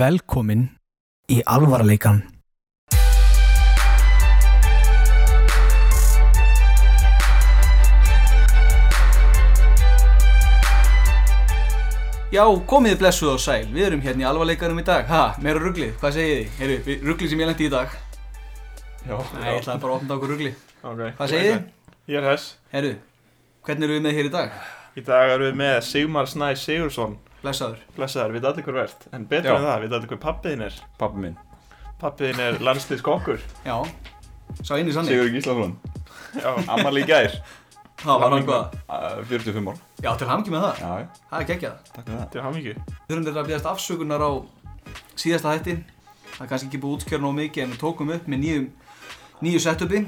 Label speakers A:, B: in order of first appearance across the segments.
A: Velkomin í alvarleikan.
B: Já, komið þið blessuð og sæl, við erum hérna í alvarleikanum í dag Ha, meira ruglið, hvað segið þið? Heyrðu, ruglið sem ég lendi í dag
C: Já,
B: Nei, ég ætlaði bara að opna okkur ruglið
C: okay.
B: Hvað segið þið?
C: Ég er Hess.
B: Heyrðu, hvernig eru við með hér í dag?
C: Í dag erum við með Sigmar Snæ Sigursson.
B: Blessaður
C: Blessaður, við allir hver verðt. En betur
D: Já.
C: en það, við allir hver pappiðin er.
D: Pappi minn,
C: Pappiðin er landslýskokkur.
B: Já, sá einu sannig
D: Sigur Gíslafrún,
C: Já,
D: ammali í gær,
B: Það var hann hvað
D: uh, 45 ára.
B: Já, til hamngi með það,
D: Já,
B: það er geggjað
D: takk fyrir það.
C: til hamingju.
B: Við þurfum þetta að bíðast afsökunar á síðasta hætti Það er kannski ekki búið útskjör nóg mikið En við tókum upp með nýjum, nýju setupi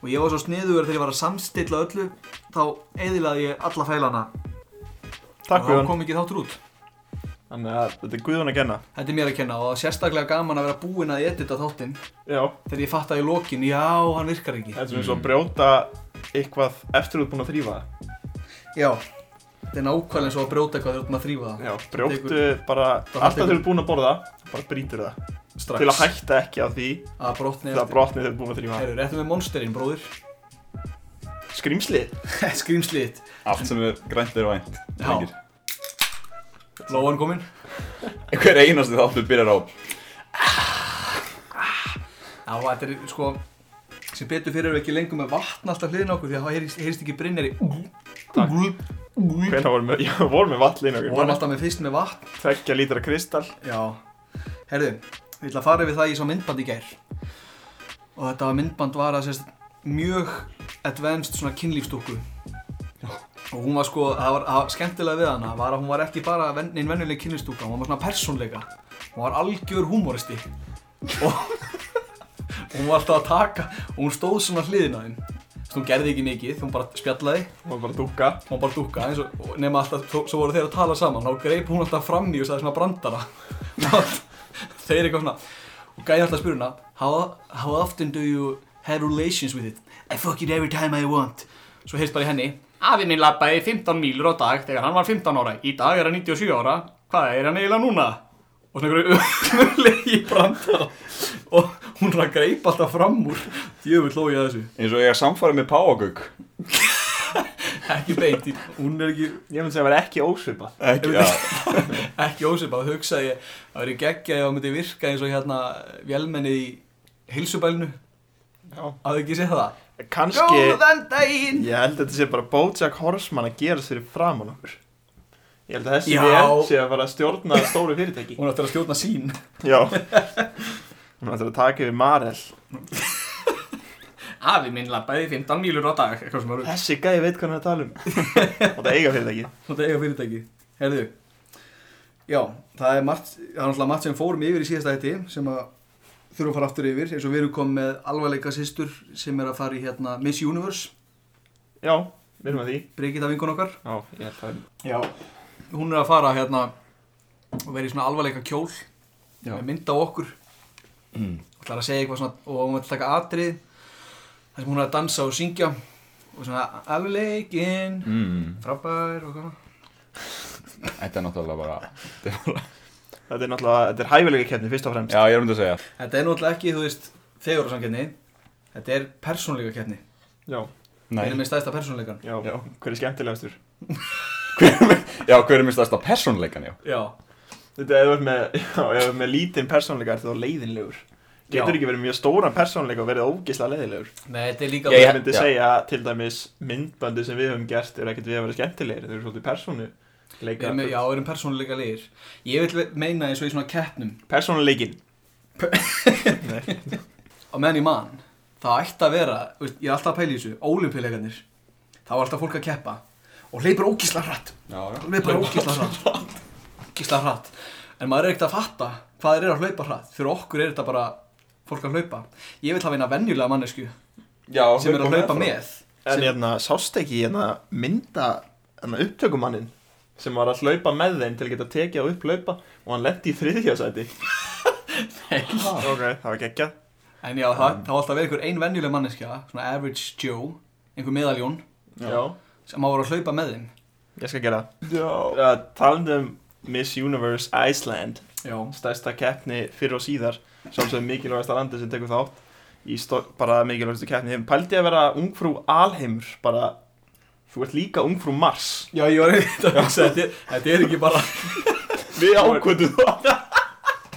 B: Og ég var svo sniður þegar ég var að samstilla öllu Þá eðilaði ég alla fælana
C: Takk
B: Og þá
C: Guðjón.
B: kom ekki þáttur út
C: Þannig að þetta er Guðjón að kenna.
B: Þetta er mér að kenna og það er sérstaklega gaman að vera búinn að edita þáttinn
C: Já,
B: þegar ég fatt að í lokin, já, hann virkar ekki.
C: þetta er sem eins og
D: Mm.
C: að brjóta eitthvað eftir þú ert búin að þrýfa það.
B: Já, þetta er nákvæmlega eins og að brjóta eitthvað þegar þú ert að þrýfa það
C: Já, brjóttu bara
B: Það
C: alltaf
B: tekur-
C: þegar þú ert búin að borða, bara brýtur það.
B: strax.
C: Til að hætta ekki á því
B: Að brotni
C: þegar brotni þegar þú ert búin að þrýfa það.
B: Herru, réttu með monsterinn, bróðir.
C: Skrýmsli.
B: Skrýmsliðitt.
D: Allt sem er grænt er vænt.
B: Já.
D: drengir.
B: Lóan kominn.
D: Hver einasti þáttur byrjar á
B: Já, þetta er sko, sem betur fyrir eru ekki lengur með vatn alltaf hliðin á okkur því að það heyrist, heyrist ekki brinneri.
C: Takk.
B: Við
C: Hvenær vorum við, já, vorum við vallin okkur.
B: vorum alltaf með fyrst með vatn.
C: Tvekja lítra kristall.
B: Já. Herru, ég ætla að fara yfir það ég sá myndband í gær. Og þetta myndband var að sérst mjög advanced svona kynlífstúku. Og hún var sko, það var, það var skemmtilega við hana, var að hún var ekki bara ven, neinn vennuleg kynlífstúka, hún var svona persónleika. Hún var algjör húmóristi. Og hún var alltaf að taka, og hún stóð svona hliðina þinn. Þess að hún gerði ekki mikið, hún bara spjallaði,
C: Hún var bara að dúka.
B: hún var bara að dúkka, eins og, og nema alltaf, svo, svo voru þeir að tala saman, þá greip hún alltaf fram í og sagði svona brandara. þeir eitthvað svona, og gæði alltaf að spyrja hana, how, how often do you have relations with it? I fuck it every time I want. Svo heyrst bara í henni, afi minn lappaði 15 mílur á dag þegar hann var 15 ára, í dag er hann 97 ára, hvað er hann eiginlega núna? Og svona einhverju umlegi brandara og hún er að greip alltaf fram úr, djöfull hló ég að þessu.
D: eins og ég að samfara með Páagögg.
B: Ekki beint, í- hún er ekki,
C: Ég myndi segja að það var ekki ósvipað.
D: Ekki, já.
B: ekki ósipað, hugsaði ég að verið geggja ef það myndi virka eins og hérna vélmennið í hilsubælnu
C: Já.
B: að ekki sé það
C: Kanski,
B: daginn
C: ég held að þetta sé bara Bojack Horseman að gera sér framan okkur Ég held að þessi
B: Já.
C: vél sé að fara að stjórna stóru fyrirtæki
B: hún ætti að stjórna sín
C: Já Hún ætlar að taka yfir Marel
B: afi minn labbaði 15 mílur á dag eitthvað sem var
C: Þessi gæði veit hvað hann er að tala um Og það eiga fyrirtæki
B: svona eiga fyrirtæki herðu já, það er margt það er náttúrulega margt sem fórum yfir í síðasta hætti sem að þurfum að fara aftur yfir eins og við erum komið með alvarleika sýstur sem er að fara í hérna Miss Universe
C: Já, við erum að því
B: Brigitta vinkun okkar
C: Já, ég held að
B: Já, hún er að fara hérna og vera í svona alvarleika kjól
D: Já.
B: með mynd á okkur og ætlar að segja eitthvað svona og hún ætlar að taka atrið þar sem hún er að dansa og syngja og svona alvarleikin
D: Mm,
B: frábær og hvað
D: þetta er náttúrulega bara...
C: Þetta er náttúrulega, þetta er hæfilega keppni fyrst og fremst
D: Já, ég er um þetta að segja.
B: Þetta er náttúrulega ekki, þú veist, fegurarsamkeppni þetta er persónleika keppni
C: Já,
B: við
D: Nei.
B: erum með stæðsta persónleikan
C: já,
D: Já.
C: hver er skemmtilegastur?
D: Já, hver er minn stærsta persónleikan, já?
B: Já,
C: Þetta er ef þú ert með, já, ef þú ert með lítinn persónleika er þá leiðinlegur Getur
B: Já.
C: ekki verið með mjög stóran persónleika og verið ógislega leiðinlegur
B: nei, þetta er líka
C: Ég
D: Ég-
C: myndi
D: já.
C: segja til dæmis myndbandi sem við höfum gert eru ekkert við að vera skemmtilegir, þau eru svolítið persónu
B: við erum, með- Já, við erum persónleika leir Ég vil meina eins og í svona keppnum
C: Persónuleikin
B: á meðan ég man það ætti að vera, þú veist, ég er alltaf að pæla í þessu ólimpíuleikarnir, það var alltaf fólk að keppa og hleypur ógísla hratt
D: Já,
B: hleypur ógísla hratt ógísla hratt, en maður er ekkert að fatta hvað þeir eru að hlaupa hratt, fyrir okkur er þetta bara fólk að hlaupa, ég vil hafa eina venjulega mannesku
D: Já,
B: sem er að hlaupa með
C: En
B: sem,
C: hérna, sást ekki hérna mynda hérna, upptökumannin sem var að hlaupa með þeim til að geta tekið á upp hlaupa og hann lendi í þriðjásæti Ok, það var geggjað
B: en já, það, það var alltaf að vera einhver ein venjuleg manneska svona average Joe, einhver meðaljón
C: Já.
B: sem maður voru að hlaupa með þeim
C: ég skal gera
D: Já.
C: það uh, Talandi um Miss Universe Iceland
B: Já,
C: stærsta keppni fyrir og síðar sjálfsögum mikilvægasta landi sem tekur þátt í stó- bara mikilvægastu keppni heim pældi að vera ungfrú alheimur bara, þú ert líka ungfrú Mars
B: já ég var einmitt að hugsa þetta er- Þetta er ekki bara
C: við ákvöndum það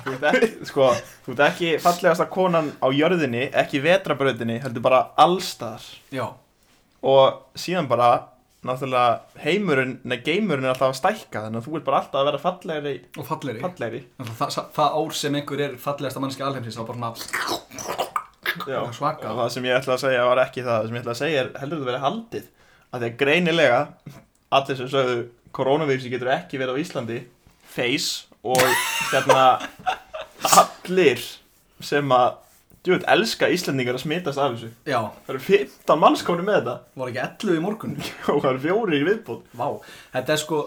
C: þú ert ekki, sko, þú ert ekki fallegasta konan á jörðinni ekki vetrabrautinni, heldur bara allstaðar
B: Já,
C: og síðan bara náttúrulega heimurinn, nei geimurinn er alltaf að stækka þannig að þú ert bara alltaf að vera fallegri
B: og fallegri
C: fallegri,
B: Þannig að það, það ár sem einhver er fallegasta mannski alheimsins þá bara svona
C: já,
B: Það er svaka.
C: og það sem ég ætla að segja var ekki það, það sem ég ætla að segja er heldur þú verið haldið, að því að greinilega allir sem sögðu koronavírusi getur ekki verið á Íslandi face og hérna allir sem að djúvöld elska Íslandingar að smitast af þessu
B: Já,
C: það eru 15 manns komin með þetta
B: var ekki 11 í morgun
C: og það eru fjórir í viðbútt
B: Vá, þetta er sko,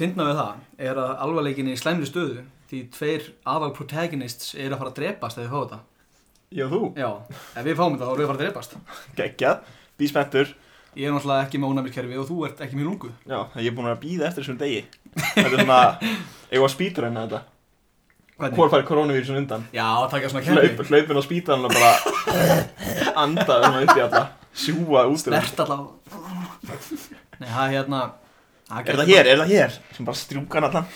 B: fyndna við það er að alvarleikin er í slæmri stöðu því tveir aðal protagonists eru að fara að drepast eða fá þetta
C: Já, þú,
B: Já, ef við fáum þetta þá erum við að fara að drepast
C: geggjað, býð spenntur
B: Ég er náttúrulega ekki með ónæmiskerfi og þú ert ekki með lungu
C: Já, ég er búin að býða eftir þessum degi Þetta er svona, ég var spíturinn að þetta
B: Hvernig?
C: Hvor fær koronavírusin undan?
B: Já, taka svona
C: Hlaup,
B: kerfi
C: hlaupin á spíturinn og bara anda svona upp í alla Sjúga út um Er
B: Snert allavega Nei, það er hérna það
C: þetta hér, er þetta hér? Sem bara strjúkan allan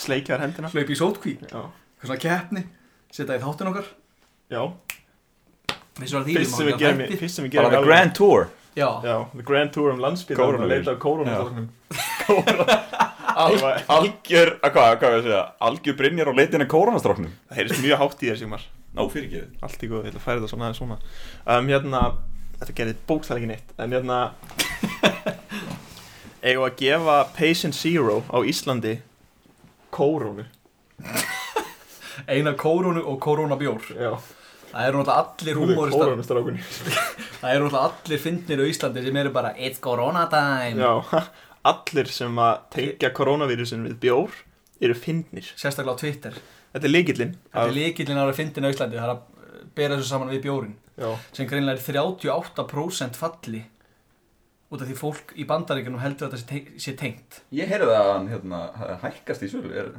C: Sleikjaðar hendina
B: Hlaup í sótkví,
C: Já,
B: eitthvað svona keppni Setta í þáttin okkar
C: já
B: Vissar að því
C: Fyrst
B: má
C: sem við
B: ekki
C: gerum
B: hafa
C: í-
B: hætti.
C: Fyrst sem við
D: Bara
C: gerum í
D: the
C: alveg-
D: grand tour
B: Já,
C: Já, the grand tour um landspíturinn að
D: Kórónuvírus.
C: leita af koronavírusin
D: Al, Algjör, að hvað, hvað er að segja Algjör Brynjar og leitin að kóranastráknum
C: Það heyrist mjög hátt í þér, Sigmar
D: Ná fyrir ekki
C: Allt í góðu, ég ætla að færa þetta svona aðeins svona um, Hérna, þetta gerði bókstæð ekki neitt En hérna Eigum við að gefa Patient Zero á Íslandi Kórónu
B: eina kórónu og kórónabjór
C: Já,
B: Það eru náttúrulega allir húmóristar
C: kórónu strákunni
B: Það eru náttúrulega allir fyndnir á Íslandi sem eru bara It's corona time
C: Já, allir sem að tengja koronavírusin við bjór eru fyndnir
B: Sérstaklega á Twitter
C: Þetta er líkillinn
B: Þetta er líkillin ára fyndin á Íslandi Það er að eh, bera þessu saman við bjórin
C: Já,
B: sem greinlega er 38% falli út af því fólk í bandaríkjunum heldur að þetta sé teng- sé tengt
D: Ég heyrði að hann hérna, hækkast í sölu er,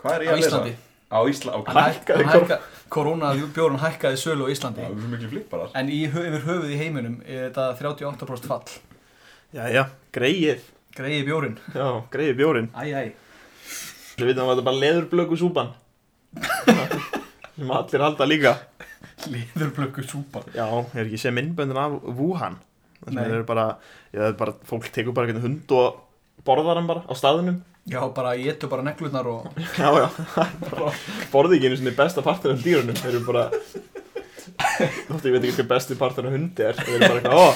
D: Hvað er
B: á
D: ég að lesa?
B: Íslandi
D: Á Íslandi, ok
B: Hann hæk-
C: Hækkaði
B: hann hækka, Koronabjórun hækkaði sölu á
D: Það
B: Íslandi
D: er svo mikið flipparar
B: en í, hö- yfir höfuð í heiminum er þetta 38% fall
C: já, já greið
B: greiði bjórin
C: Já, greið bjórin
B: Æ, æ,
C: Við veitum að þetta bara leðurblöku súpan Sem allir halda líka
B: liðurblöku súpa
C: Já, ég er ekki sem innböndin af Wuhan Það sem
B: Nei.
C: þeir eru bara, já, það er bara, fólk tekur bara einhvern hund og borðar hann bara á staðinum
B: Já, bara ég etu bara neglurnar og
C: Já, já, bara, borði ekki einu sinni besta partur af dýrunum Þeir eru bara, þóttu ég veit ekki hver besti partur af hundi er Þeir eru bara eitthvað, ó,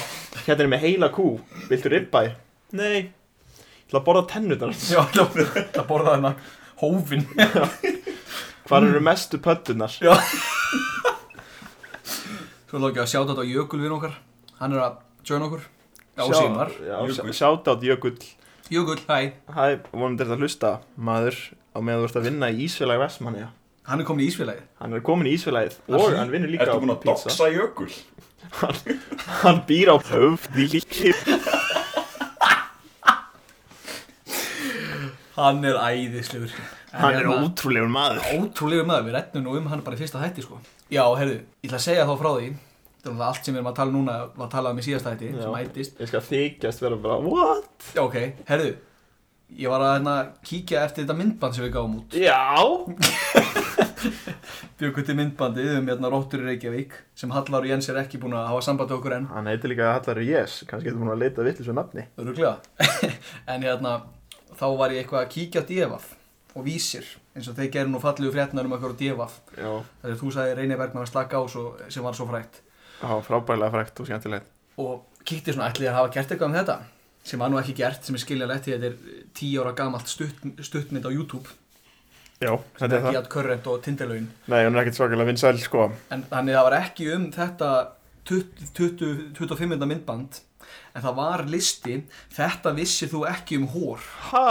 C: hérna er með heila kú, viltu ribbæ? Nei, ég ætla að borða tennutan
B: Já, það borða þarna hófin
C: Hvar eru mestu pöttunar?
B: Svo lókið að sjáta þetta á Jökulvin okkar Hann er að joina okkur Já,
C: Sjá-
B: símar
C: Já,
D: Jökull.
C: sjátt átt Jökull
B: Jökull, hæ
C: Hæ, vonum þetta að hlusta, maður, á meðan þú ert að vinna í Ísfélag Vestmannia
B: Hann er komin í Ísfélagið
C: Hann er komin í Ísfélagið og hann vinnur líka
D: Ertu búin að doxa jökul?
C: Hann býr á höfði
B: Hann er æðislegur En
C: Hann er
B: hérna,
C: ótrúlegur maður
B: Ótrúlegur maður, við rettum nú um hann bara í fyrsta þætti sko Já, heyrðu, ég ætla að segja þá frá því Það er náttúrulega allt sem við erum að tala núna var talað um í síðasta þætti
C: Já.
B: sem ættist
C: Ég skal þykjast vera bara, what?
B: Já, ok, heyrðu Ég var að hérna, kíkja eftir þetta myndband sem við gáum út
C: Já
B: Bjökkum til myndbandi um hérna Róttur í Reykjavík sem Hallar og Jens er ekki búin að hafa samband við okkur enn
C: Hann heitir líka Hallari Yes, kannski getur búin að leita vittlis við nafni
B: Öruglega. en hérna, þá var ég eitthvað að kíkja á divaf og vísir, eins og þeir gerir nú fallegu frétnar um eitthvað á divaf.
C: Já
B: Þegar þú sagði Reyni Bergman að slaka á svo, sem var svo frægt.
C: Já, frábærlega frægt og skemmtilegt
B: Og kíkti svona, ætli ég að hafa gert eitthvað um þetta? Sem var nú ekki gert, sem er skiljanlegt því þetta er tíu ára gamalt stutt, stuttmynd á YouTube.
C: Já,
B: Sem
C: þetta
B: er
C: er það
B: Gjart Körrent og Tindelögin.
C: Nei, hún er ekkert svakalega vinsæl, sko
B: En þannig það var ekki um þetta 20 20 25 minna myndband, en það var listi, þetta vissir þú ekki um hór.
C: Ha,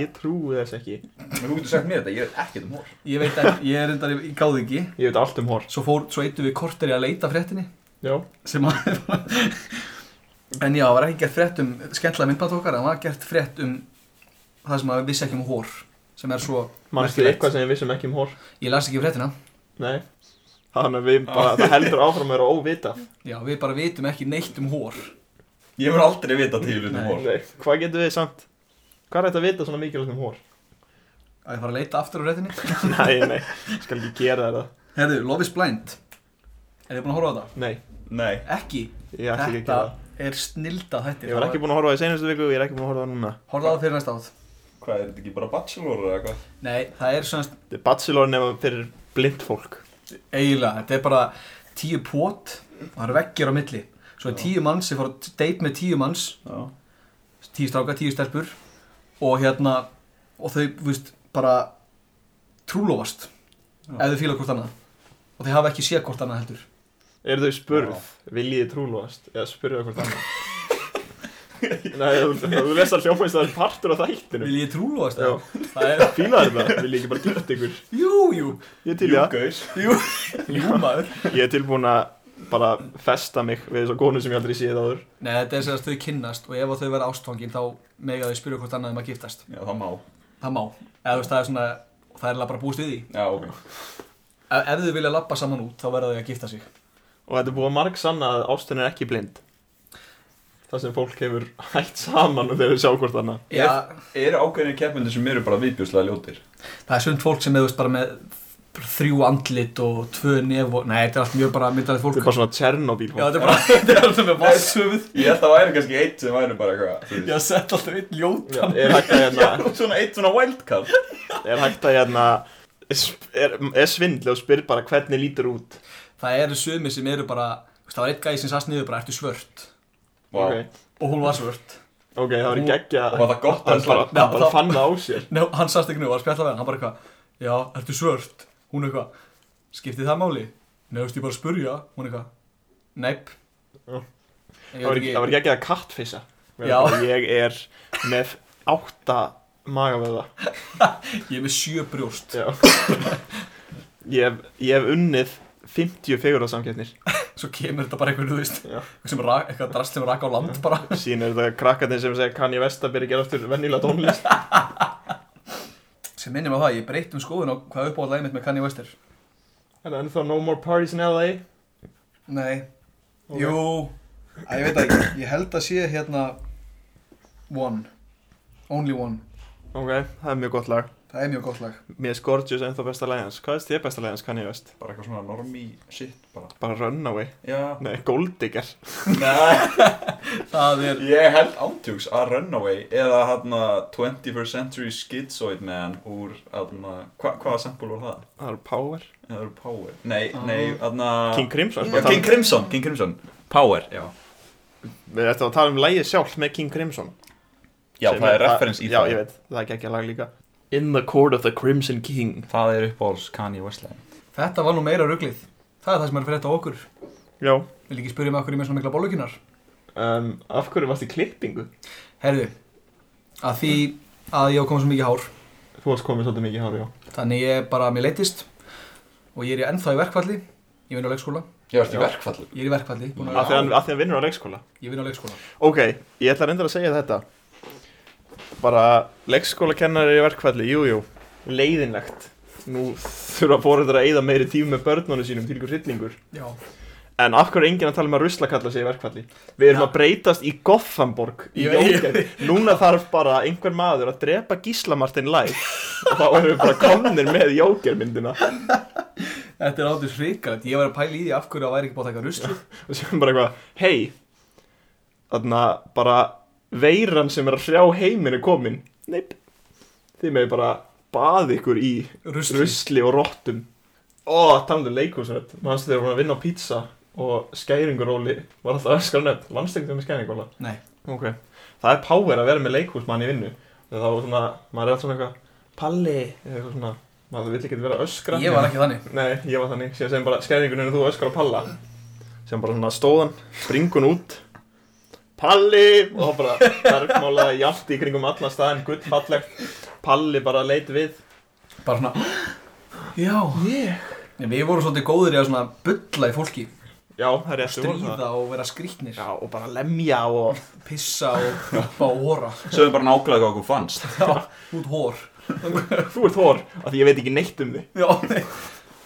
C: ég trúi þess ekki
D: Þú getur sagt mér þetta, ég veit ekkert um hór
B: Ég veit ekki, ég er reyndar, ég gáði ekki.
C: Ég veit allt um hor
B: svo fór, svo eittu við kortir í að leita að fréttinni
C: Já
B: sem að en já, það var ekki gert frétt um skemmtilega myndband okkar, en það var gert frétt um það sem að við vissi ekki um hór sem er svo
C: Manstu
B: merkilegt.
C: eitthvað sem við vissum ekki um hór?
B: Ég las ekki fréttina
C: Nei Þannig að við bara, það heldur áfram að vera óvitað
B: Já, við bara vitum ekki neitt um hór
D: Ég mun aldrei vita tíflun um
B: Nei.
D: hór
C: Nei, Hvað getum við samt? Hvað er þetta að vita svona mikilvægt um hór?
B: Að ég fara að leita aftur á fréttinni
C: Nei, nei, skal ekki gera þetta
B: Herðu, Love is Blind Er þið búin að horfa á þetta?
C: Nei,
D: Nei
B: Ekki
C: ég ætla ekki að
B: Þetta
C: gera það
B: er snilda þetta
C: Ég var ekki búin að horfa á það í senastu viku og ég er ekki búin að horfa á það núna
B: Horfa á það fyrir næsta átt
D: Hvað, er þetta ekki bara bachelor eða hvað?
B: Nei, það er svona
C: Þetta er Bachelor nema fyrir blind fólk
B: eiginlega, þetta er bara tíu pót og það eru veggir á milli svo er tíu manns sem fara að date með tíu manns
D: Já
B: tíu stráka, tíu stelpur og hérna og þau, þú veist, bara trúlofast
D: Já.
B: ef þau fíla hvort annað og þau hafa ekki séð hvort annað heldur
C: Eru þau spurð? Viljið þið trúlóast? Eða spurðu hvort annað? Nei, þú- þú lest að hljófæðist það er partur á þættinu
B: Vil ég trúlofast
C: Já.
B: það? Það er,
C: Fílaði þetta, viljið ekki bara gift ykkur
B: jú, jú,
C: Ég er til í það
D: Júkaus
B: jú Jú maður
C: Ég er tilbúin að bara festa mig við þessar konu sem ég aldrei séð áður
B: Nei, þetta er sem að þau kynnast og ef að þau verða ástfangin þá mega þau spyrja hvort annað um að giftast
D: Já, það má
B: Það má, eða þú veist, það er svona það er eiginlega bara búist við því
D: Já, ok
B: ef, ef þau vilja labba saman út þá verða þau að gifta sig
C: Og þetta er búið að marg sanna að ástin er ekki blind Það sem fólk hefur hægt saman og þeir sjá hvort annað
D: Já. Eru ákveðinir keppmyndir sem eru bara viðbjóslega ljótir?
B: það er sund fólk sem hefur bara með þrjú andlit og tvö nef og, nei, þetta er allt mjög bara myndalegt fólk
C: Þetta er bara svona Tjernobyl
B: já, þetta er bara, þetta er alltaf með vasshöfuð
D: Ég held að það væri kannski eitt sem væri bara eitthvað þú veist.
B: ég sett alltaf einn ljóta
C: Já, er hægt að
D: Já,
C: hérna
D: svona eitt svona wildcard
C: Er hægt að hérna Er, er svindli og spyr bara hvernig lítur út
B: það eru sumi sem eru bara þú veist, það var einn gæði sem sast niður bara, ertu svört
D: Vá.
C: Ok,
B: og hún var svört
C: ok, það var geggja
D: Og var það gott að
C: Hann bara,
D: svara?
C: hann bara
B: Já,
C: fann það á sér
B: Nei, hann sast ekki nú, hann spjalla við hann, hann bara eitthvað já, ertu svört, hún eitthvað skiptið það máli, nei, þú veist, ég bara að spurja hún eitthvað, neip
C: Já.
B: Ég
C: Það var,
B: veit ekki-
C: það var geggja að kattfissa
B: Já.
C: Ég er með átta magavöða
B: ég er með sjö brjóst
C: Já Ég hef, ég hef unnið 50 fegurðarsamkeppnir
B: svo kemur þetta bara einhvern, þú veist
C: Já.
B: eitthvað sem rak, eitthvað drast sem rak á land bara
C: Síðan er þetta krakkarnir sem segja kann ég vest að byrja að gera aftur venjulega tónlist
B: sem minnum á það, ég breytt um skoðun á hvað uppáhaldlæði mitt með Kanye West er
C: En ennþá no more parties in LA
B: nei,
C: Ok.
B: jú að ég veit að ég, ég held að sé hérna One Only One,
C: Ok, það er mjög gott lag
B: það er mjög gott lag
C: Mér er Scorgius ennþá besta lagið hans Hvað er þér besta lagið hans kann ég vest?
D: Bara eitthvað svona normi shit bara
C: Bara Runaway
D: Já
C: Nei, Goldigger
D: Nei
B: það er,
D: Ég held ántjúks að Runaway eða hérna 21st Century Schizoid Man úr hérna hva, Hvaða sample var það?
C: Það er Power
D: Eða eru Power? Nei,
B: Ah.
D: nei, hérna
C: King Crimson
D: Já, King Crimson, King Crimson Power, já
C: Við ættum að tala um lagið sjálft með King Crimson
D: Já,
C: Sem
D: það er reference í
C: já,
D: það
C: Já, ég veit, það er geggja lag líka In the court of the Crimson King
D: Það er uppáhalds Kanye Westland
B: þetta var nú meira ruglið það er það sem er fyrir þetta á okkur
C: Já
B: vil ekki spyrja með okkur í með svona mikla bóluginar
C: um, Af hverju varst í klippingu?
B: herðu, að því að ég á komið svo mikið hár
C: Þú varst komið svolítið mikið hári á
B: þannig ég bara, mér leittist og ég er ennþá í verkfalli ég vinn á leikskóla,
D: Ég varst í
C: Já.
D: verkfalli
B: ég er í verkfalli búin að-
C: Af því að hann- af því að hann vinnur á leikskóla
B: ég vinn á leikskóla
C: Ok, ég ætla reyndar að segja þetta Bara leikskólakennari í verkfalli, jú, jú Leiðinlegt Nú þurfa fóreldrar að eyða meiri tíma með börnunum sínum til ykkur hryllingur
B: já,
C: En af hverju er enginn að tala um að ruslakalla sig í verkfalli? Við erum
B: Já.
C: að breytast í Gothenburg í
B: Ég veit-
C: jókjæð Núna þarf bara einhver maður að drepa Gíslamartin Læk Og þá erum við bara komnir með jókjærmyndina
B: Þetta er áttið hrikalegt, ég var að pæla í því af hverju það væri ekki búið að taka rusli
C: og séum bara eitthvað, hei þarna bara veiran sem er að hrjá heiminn er komin neip, þið með bara baði ykkur í
B: Rusli,
C: rusli og rottum ó, talandi um leikúsnött mannstu þegar voru að vinna á pizza og skæringuróli var alltaf öskar nött landstektum með skæringuróla
B: Nei,
C: ok, það er power að vera með leikúsmann í vinnu þegar þá svona, maður er alltaf svona eitthvað palli, eða eitthvað svona maður vill ekki vera að öskra
B: ég var ekki þannig
C: Nei, ég var þannig, síðan sem bara skæringunum þú öskar á palla sem bara svona stóðan, springun út Palli og þá bara bergmálaði jalt í kringum allan staðin, gull fallegt Palli bara leit við
B: Bara svona, já
C: Ég?
B: Nei, Við vorum svolítið góðir í að svona bulla í fólki
C: Já, það er rétt við vorum það.
B: stríða og vera skrýtnir
C: Já, og bara lemja og
B: pissa og hoppa og hóra
D: Sögum bara nákvæmlega hvað okkur fannst
B: já, út hór
C: Þú ert hór, af því ég veit ekki neitt um þig
B: já, nei.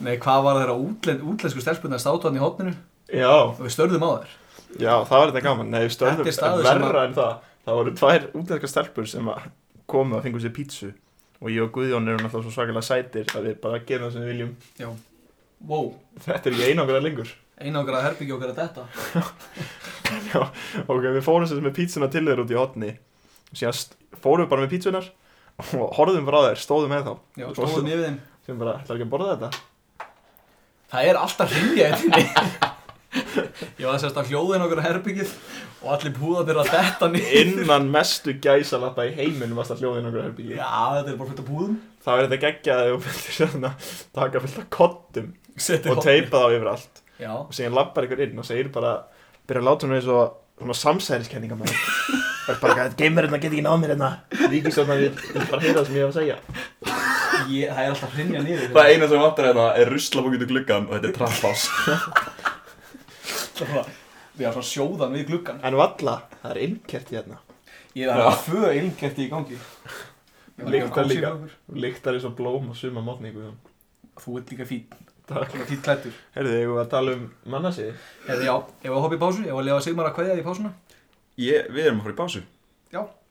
B: nei, hvað var þeirra útlen, útlensku stelspunna státu hann í hotninu
C: Já,
B: og við störðum á þær
C: já, það var þetta gaman Nei, við stöðum
B: Þetta er staður sem
C: verra en það Það voru tvær útlæðska stelpur sem að komu og fengu sér pítsu Og ég og Guðjón erum alltaf svo svakalega sætir að við bara gerum það sem við viljum
B: já, wow,
C: Þetta er ekki einangra lengur
B: einangrað herbyggi okkar að detta
C: Já, ok, við fórum sem með pítsuna til þeir út í hotni Síðan st- fórum við bara með pítsunar og horfðum frá þeir, stóðum með þá
B: já, stóðum yfir þeim
C: sem bara, ætlar ekki að borða þetta?
B: það er alltaf hrylja einni ég var að sérst að hljóðin okkar að herbyggið og allir púðanir að detta niður
C: Innan mestu gæsalappa í heiminum varst að hljóðið nokkur herbyggi
B: já, þetta er bara fullt af púðum
C: þá er þetta geggjaði og myndir sérna taka fullt af kottum
B: Settir
C: og teipa þá yfir allt
B: já,
C: og síðan lappar ykkur inn og segir bara byrja að láta hún eins og svona samsæðiskenninga maður það er bara eitthvað, geimur hérna, get ekki náð mér hérna ríkistjóðna, ég vil bara heyra það sem ég hef að segja
B: ég, það er alltaf hrylja niður
D: Það eina sem vantar hérna er ruslabókið til gluggan og þetta er trappás
B: Svona- við erum svona sjóðan við gluggan
C: en valla, það er innkert hérna
B: ég það
D: Já.
B: er að föða ilmkerti í gangi Ég var
C: Lyktar
B: að kósa
C: líka.
B: í okkur.
C: og lyktar eins og blóm og suma mótni ykkur
B: þú ert líka fín,
C: takk,
B: svona fín klættur
C: heyrðu, ég var að tala um mannasiði
B: eða já, ef að hoppa í pásu, ef að lefa Sigmar að kveðja þig í pásuna
D: Ég, við erum að fara í básu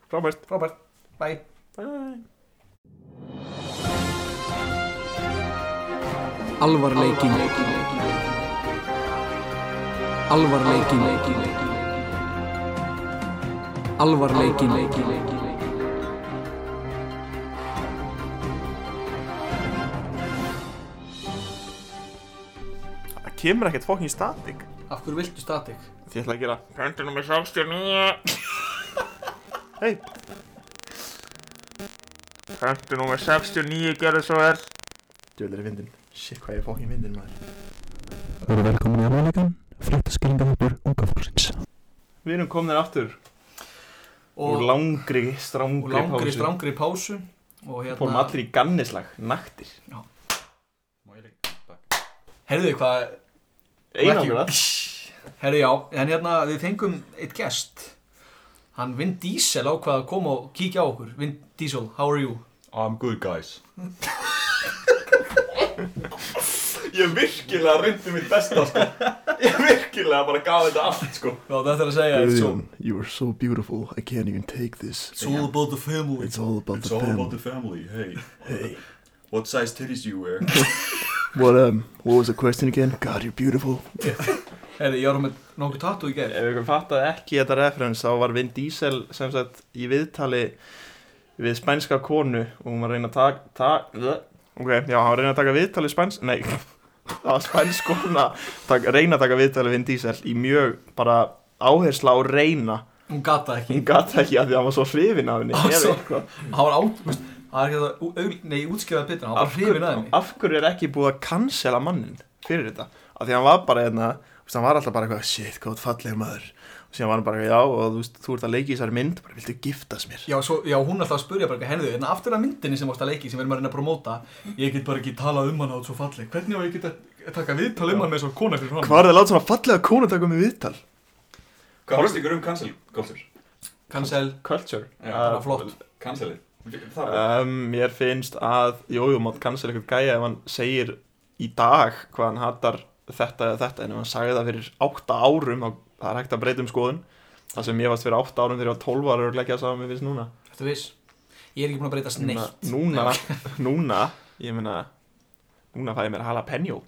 C: frábært,
B: frábært, bæ
C: bye
A: Alvarleikin Alvarleikin Alvarleikin
C: það kemur ekkert fokkin statik
B: af hverju viltu statik?
C: Þið ætla að gera Pöntunum er 69 Hei Pöntunum er 69 Gerðu svo vel Djöðlega er vindin Shit hvað ég er fókin vindin maður
A: Þú eru velkomin í alvarleikan Fréttaskilingahópur unga fólksins
C: Við erum komin aftur Úr
B: og,
C: langri,
B: og
C: strangri
B: langri,
C: pásu.
B: strangri pásu og
C: Fórum
B: hérna,
C: allir í gannislag Naktir
B: herðu hvað
C: Einangra
B: herðu já, en hérna við fengum eitt gest hann Vin Diesel ákvað að koma og kíkja á okkur Vin Diesel, how are you?
D: I'm good guys
C: Ég virkilega reyndi mitt besta sko Ég virkilega bara gaf þetta allt sko
B: Já, þetta er að segja sko.
E: Guðjón, you are so beautiful, I can't even take this.
B: It's all about the family
E: It's all about
D: It's
E: the
D: all about the family,
E: family.
D: hey
E: Hey,
D: What size titties do you wear?
E: what um, what was the question again? God, you're beautiful.
B: Herri, ég var með nokkuð tattu í gerð
C: Ef ykkur fattaði ekki þetta referens þá var Vin Diesel sem sagt í viðtali við spænska konu og hún var að reyna að taka tak, ok, já, hann var að reyna að taka viðtali spæns nei, það var spænsk kona tak, reyna að taka viðtali við Vin Diesel í mjög bara áhersla á reyna
B: Hún gata ekki
C: hún gata ekki að því að hann var svo hrifin af henni
B: Ah,
C: eða
B: svo-
C: eitthvað.
B: Hann var át, veist, hann er ekki að ú- augl- Nei, útskrifaði betur, hann var
C: Af
B: bara hrifin að
C: hverju-
B: henni
C: af hverju er ekki búið að cancela mannin fyrir þetta af því að hann var bara hérna þú veist, hann var alltaf bara eitthvað shit, hvað þú ert falleg maður og síðan var hann bara já og þú veist, þú ert að leika í þessari mynd bara viltu giftast mér
B: Já, svo, já, hún er alltaf að spurja bara henni En aftur að myndinni sem varst að leiki sem við erum að reyna að promóta Ég get bara ekki talað um hann át svo falleg Hvernig á ég get að taka viðtal um hann með svo kona fyrir hann
C: Hvað er það að láta svona fallega konu taka mig viðtal?
D: Hvað finnst ykkur um cancel culture?
B: Cancel
C: Culture
D: Já,
B: Það var flott
D: Cancelið? Það var
C: um, Mér finnst að Jójó mátt cancel eitthvað gæja ef hann segir í dag hvað hann hattar þetta eða þetta en ef hann sagði það fyrir 8 árum þá það er hægt að breyta um skoðun Það sem ég varst fyrir 8 árum þegar ég var 12 ára og leggja það saman mér finnst núna
B: Þetta viss Ég er ekki búin að breytast
C: Ég meina,
B: neitt
C: Núna, núna, ég meina Núna fæ ég mér jalapeno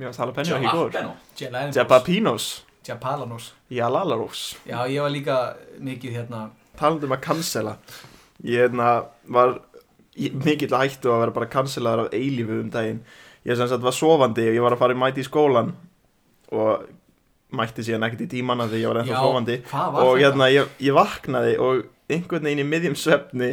C: Mér finnst jalapeno ekki góður
D: Jalapeno
B: Jalapenos
C: Jalapenos
B: Japalanos
C: Jalalarós
B: Já, ég var líka mikið hérna
C: talandi um að cancela ég hefna, var í- mikill að hættu að vera bara cancelaður af eilífu um daginn ég sem sagt var sofandi og ég var að fara í mæti í skólan og mætti síðan ekkert í tímanna því ég var ennþá
B: Já,
C: sofandi
B: Hvað var
C: og
B: þetta?
C: hérna ég, ég vaknaði og einhvern veginn í miðjum svefni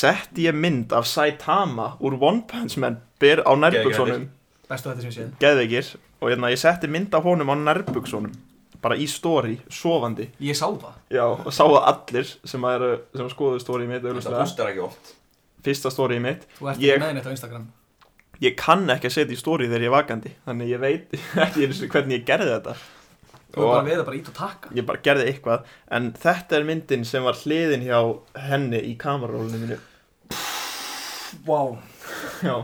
C: setti ég mynd af Saitama úr One Punch Man ber á nærbuksonum
B: Bestu þetta sem ég séð
C: geðveikir og hérna ég setti mynd af honum á nærbuksonum bara í stóri, sofandi
B: Ég sá það
C: Já, og sá að allir sem, að eru, sem skoðu stórið mitt
D: Þetta
C: auðvitað,
D: postar ekki oft
C: fyrsta stórið mitt
B: Þú ert
C: Ég-
B: ekki með neitt á Instagram
C: ég kann ekki að setja í stóri þegar ég er vakandi þannig ég veit ekki einu sinni hvernig ég gerði þetta
B: Þú hefur bara verið bara ít og taka
C: ég bara gerði eitthvað en þetta er myndin sem var hliðin hjá henni í kamerarólinu minu
B: Vá,
C: já,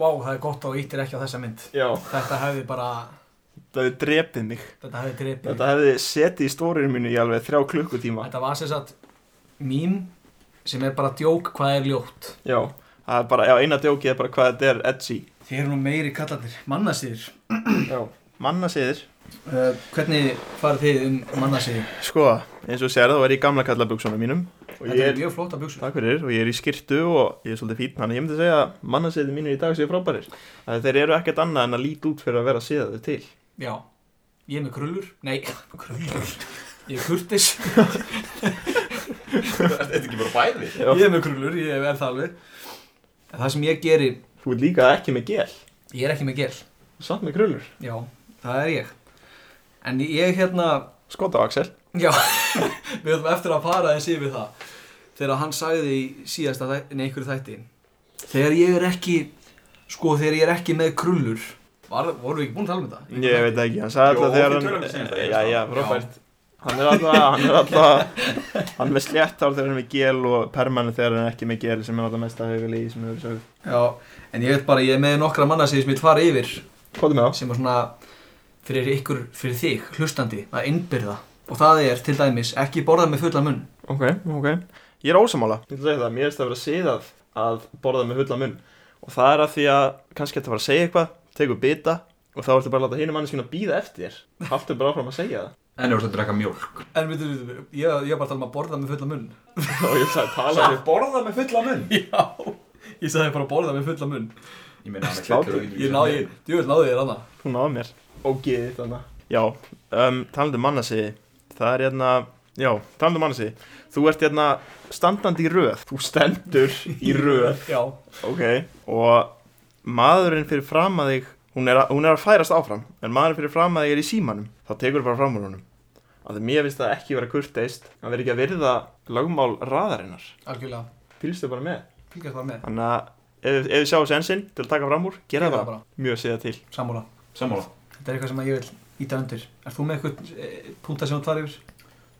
B: vá, það er gott og íttir ekki á þessa mynd
C: já,
B: Þetta hefði bara,
C: það hefði drepið mig
B: þetta hefði drepið
C: þetta hefði setið í stórinu mínu í alveg þrjá klukkutíma
B: Þetta var sem sagt mím sem er bara djók hvað er ljótt
C: já, það er bara, já, eina djókið er bara hvað þetta er edgy
B: Þið eru nú meiri kallandir, mannasýðir
C: já, mannasiðir
B: uh, Hvernig farið þið um mannasýðir?
C: sko, eins og sér þá er ég í gamla kallabugsunum mínum og
B: Þetta
C: ég
B: er
C: er,
B: mjög flóta buksur
C: takk fyrir, og ég er í skirtu og ég er svolítið fín, þannig ég myndi segja að mannasiðir mínir í dag séu frábærir að þeir eru ekkert annað en að líti út fyrir að vera siðaðir til
B: Já, ég er með krullur Nei, krullur Ég er kurtis
D: Þetta er ekki bara bæði
C: já,
B: Ég er með krullur, ég er það alveg En það sem ég geri,
C: þú ert líka ekki með gel
B: ég er ekki með gel
C: samt með krullur,
B: Já, það er ég En ég hérna
C: skot á Axel
B: Já, við ætlum eftir að fara þessi yfir það Þegar hann sagði í síðasta þæ- nei, einhverju þætti Þegar ég er ekki Sko, þegar ég er ekki með krullur var, Vorum við ekki búin að tala um þetta?
C: Ég veit ekki, hann sagði
D: Jó,
C: alltaf þegar
D: við
C: hann
D: tölum við seinast, ég
C: Já,
D: veist
C: já,
D: það.
C: Robert Hann er alltaf, hann er alltaf Hann er með slétt ár þegar hann er með gél og permanent þegar hann er ekki með gél sem er alltaf mest að hauga líði sem hefur sögð
B: Já, en ég veit bara, ég er með nokkra manna sem ég vil fara yfir
C: Hvað er með það?
B: Sem er svona fyrir ykkur, fyrir þig, hlustandi Að innbyrða Og það er til dæmis ekki borða með fullan munn
C: Ok, ok Ég er ósamála Ég ætla að segja það, mér er þetta að vera siðað að borða með fulla munn og það er að því að kannski þetta var að segja eitthvað tegur bita og þá ertu bara að láta hinum manneskinu að býða eftir þér. Haltu bara áfram að segja það
D: En þú ert að drekka mjólk
B: En við, við, við, ég, ég er bara að tala um að borða með fullan munn
C: og ég sagði tala við
D: borða með fulla munn
B: Já, ég sagði bara borða með fullan munn
D: Ég meina hann er
C: Slátur.
D: fullur og getur
B: Ég náði, djúvel náði ég ranna
C: Þú náðu mér Og geði þarna Já, um, talandi um mannasiði Það er hérna Já, talandi um mannasiði Þú ert hérna standandi í röð Þú stendur í röð
B: Já,
C: Ok Og maðurinn fyrir fram að þig hún er, að- hún er að færast áfram En maðurinn fyrir fram að þig er í símanum Þá tekur þú bara fram úr honum Af því mér finnst það ekki vera kurteist Það verður ekki að virða lagmál raðarinnar
B: algjörlega,
C: Fylgstu bara með
B: fylgjast bara með
C: Þannig að ef, ef þið sjáu sensinn til að taka fram úr Gera
B: Gera
C: það
B: það bara.
C: bara Mjög séða til
B: Samúla
D: Sammála
B: Þetta er eitthvað sem ég vil íta undir. Er þú með eitthvað e, púnta sem þú tvar yfir?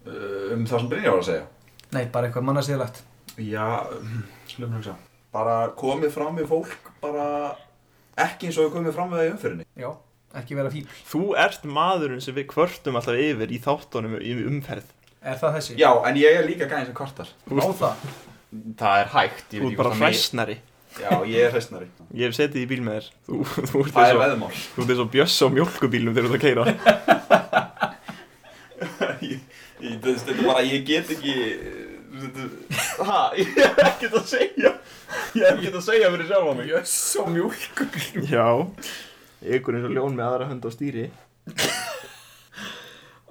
D: Uh, Um það sem Brynja var að segja
B: Nei, bara eitthvað mannasýðilegt.
D: Já, slumur hugsa Bara komið fram við fólk bara ekki eins og við komið fram við það í umfyrinni
B: Já, ekki vera fíl.
C: Þú ert maðurinn sem við kvörtum alltaf yfir í þáttunum í umferð.
B: Er það þessi?
D: Já, en ég er líka gæðin sem kvartar
C: Þú
B: Á
C: ert,
B: það.
D: Það er hægt,
C: þú ert bara hræsnari.
D: Já, ég er hræstnari
C: Ég hef setið í bíl með þér. Þú, þú ert
D: Það er
C: eins og,
D: veðmál
C: þú ert eins og bjöss á mjölkubílum þegar þú ert að keira.
D: Ég- ég- þú veist, Þetta er bara, ég get ekki þetta- Ha, ég hef ekkert að segja Ég hef ekkert að segja fyrir sjálfa mig
B: Jöss og mjölk.
C: Já. Ykkur eins og ljón með aðra hönd á stýri.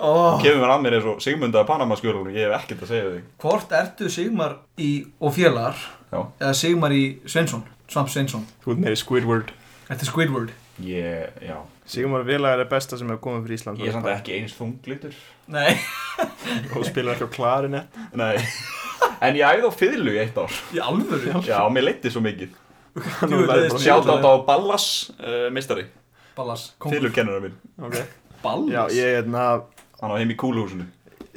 B: Oh.
D: Kemur mér að mér eins og Sigmund að Panama skjörlunum Ég hef ekkert að segja þig
B: Hvort ertu Sigmar í og félagar
D: Já.
B: eða Sigmar í Svensson? Svamp Svensson.
C: Þú ert meiri Squidward.
B: Þetta er Squidward.
D: Ég, já
C: Sigmar Vélagar er besta sem hefur komið fyrir Ísland.
D: Ég er samt ekki eins þunglitur
B: Nei,
C: Og spilar ekki á klarinett.
D: Nei En ég æði á fiðlu í eitt ár
B: í alvöru.
D: Já, mér leitti svo mikið
C: Nú,
B: Djú,
C: það er
B: leiðist
C: bara
B: mér.
D: Sjátt átt á Ballas uh, Mistari,
B: Ballas. Kóngur.
D: fiðlukennara minn
C: Ok.
B: Ballas?
C: Já, ég er hérna,
D: Hann á heim í kúluhúsinu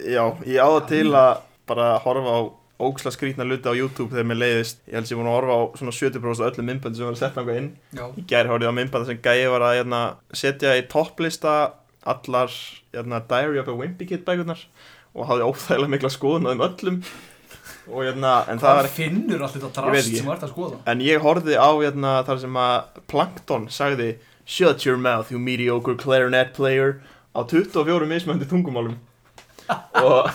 C: já, ég áða til að bara horfa á óksla skrítna luti á YouTube þegar mér leiðist. Ég held sem ég búin að horfa á svona 70% af öllum myndböndum sem var að setja einhver inn.
B: Já.
C: Í gær horfði ég á myndbanda sem gæi var að hérna, setja í topplista allar hérna, Diary of a Wimpy Kid bækurnar og hafði óþægilega mikla skoðun á þeim öllum og hérna, en það
B: Hvað
C: var ekki
B: finnur allt þetta
C: Ég veit
B: drast
C: ekki.
B: sem þú ert að skoða?
C: en ég horfði á hérna, þar sem að Plankton sagði Shut your mouth, you mediocre clarinet player á 24 mismöndi tungumálum og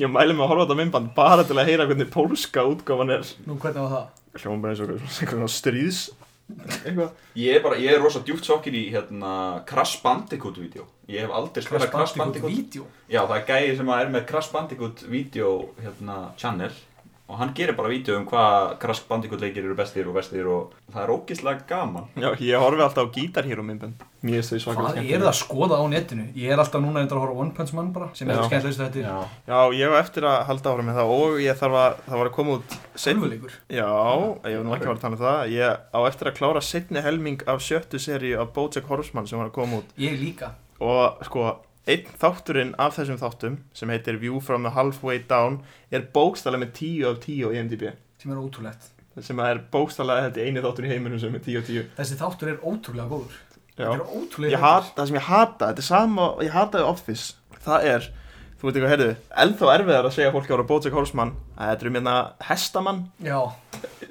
C: ég mæli mig að horfa á þetta myndband bara til að heyra hvernig pólska útgáfan er
B: Nú, hvernig var það?
C: hljóma bara eins og eitthvað- eitthvað svona stríðs eitthvað
D: Ég er bara, ég er rosa djúpt sokkin í hérna Crash Bandicoot-vídeó Ég hef aldrei spilað Crash Bandicoot
B: Vídeó.
D: Já, það er gæði sem að er með Crash Bandicoot-vídeó hérna, channel og hann gerir bara vídeo um hvað Crash Bandicoot leikir eru bestir og bestir og það er ógislega gaman
C: Já, ég horfi alltaf á Guitar Hero myndin Mér er þau svakar
B: Hvað er það að skoða á netinu? Ég er alltaf núna reyndar að horfa á One Punch Man bara sem er
C: Já.
B: skemmtilegst þetta er
C: Já, ég á eftir að halda ára með það og ég þarf að, það var að koma út setn...
B: sjálfuleikur
C: Já, ég var nú ekki að vera að tala um það Ég á eftir að klára setni helming af sjöttu seríu af Bojack Horseman sem var að koma út
B: Ég líka
C: og sko einn þátturinn af þessum þáttum sem heitir View from the Halfway Down er bókstala með 10 af 10 í MDB
B: sem er ótrúlegt
C: sem að er bókstala þetta eini þáttur í heiminum sem er 10 af 10
B: Þessi þáttur er ótrúlega góður
C: Já.
B: Þetta er ótrúlega
C: ég hat, það sem ég hata, þetta er sama ég hataði Office, það er þú veit ekki hvað, heyrðu, ennþá erfiðar að segja fólki ára Bojack Horseman að þetta er um hérna hestamann
B: Já,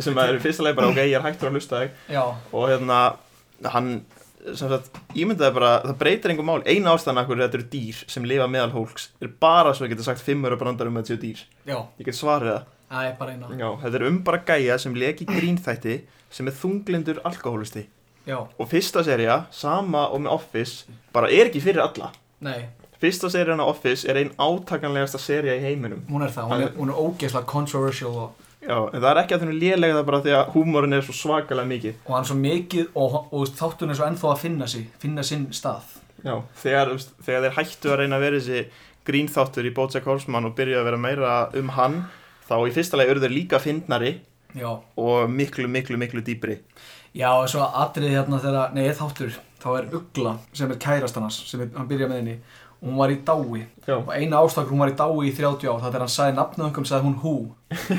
C: sem er í fyrsta leið bara ok, ég er hægtur að hlusta þig
B: já
C: og hérna, hann sem sagt, ímyndaði bara, það breytir engum mál eina ástæðan af hverju þetta eru dýr sem lifa meðal hólks er bara svo ég geti sagt fimmur og brandar um að þetta séu dýr
B: Já,
C: Ég get svarið það.
B: það er bara eina
C: Já, þetta er um bara gæja sem leki grínþætti sem er þunglindur alkohólisti.
B: Já,
C: Og fyrsta seria, sama og með Office, bara er ekki fyrir alla.
B: nei,
C: Fyrsta serían á Office er ein átakanlegasta seria í heiminum.
B: hún er það Hún er, hún er ógeðslega controversial og,
C: Já, en það er ekki að þennu lélega það er bara því að húmórin er svo svakalega mikið.
B: og hann er svo mikið og, og þátturinn er svo ennþá að finna sig finna sinn stað
C: Já, þegar, þú veist, þegar þeir hættu að reyna að vera þessi grínþáttur í Bojack Horseman og byrja að vera meira um hann, þá í fyrsta leið eru þeir líka fyndnari
B: Já,
C: og miklu, miklu, miklu dýpri.
B: já og svo atriði hérna þegar Nei, þáttur, þá er Ugla sem er kærast hans sem er, hann byrja með henni og hún var í dái
C: Já.
B: og eina ástakur hún var í dái í 30 ár það er hann sagði nafnum einhverjum sagði hún hú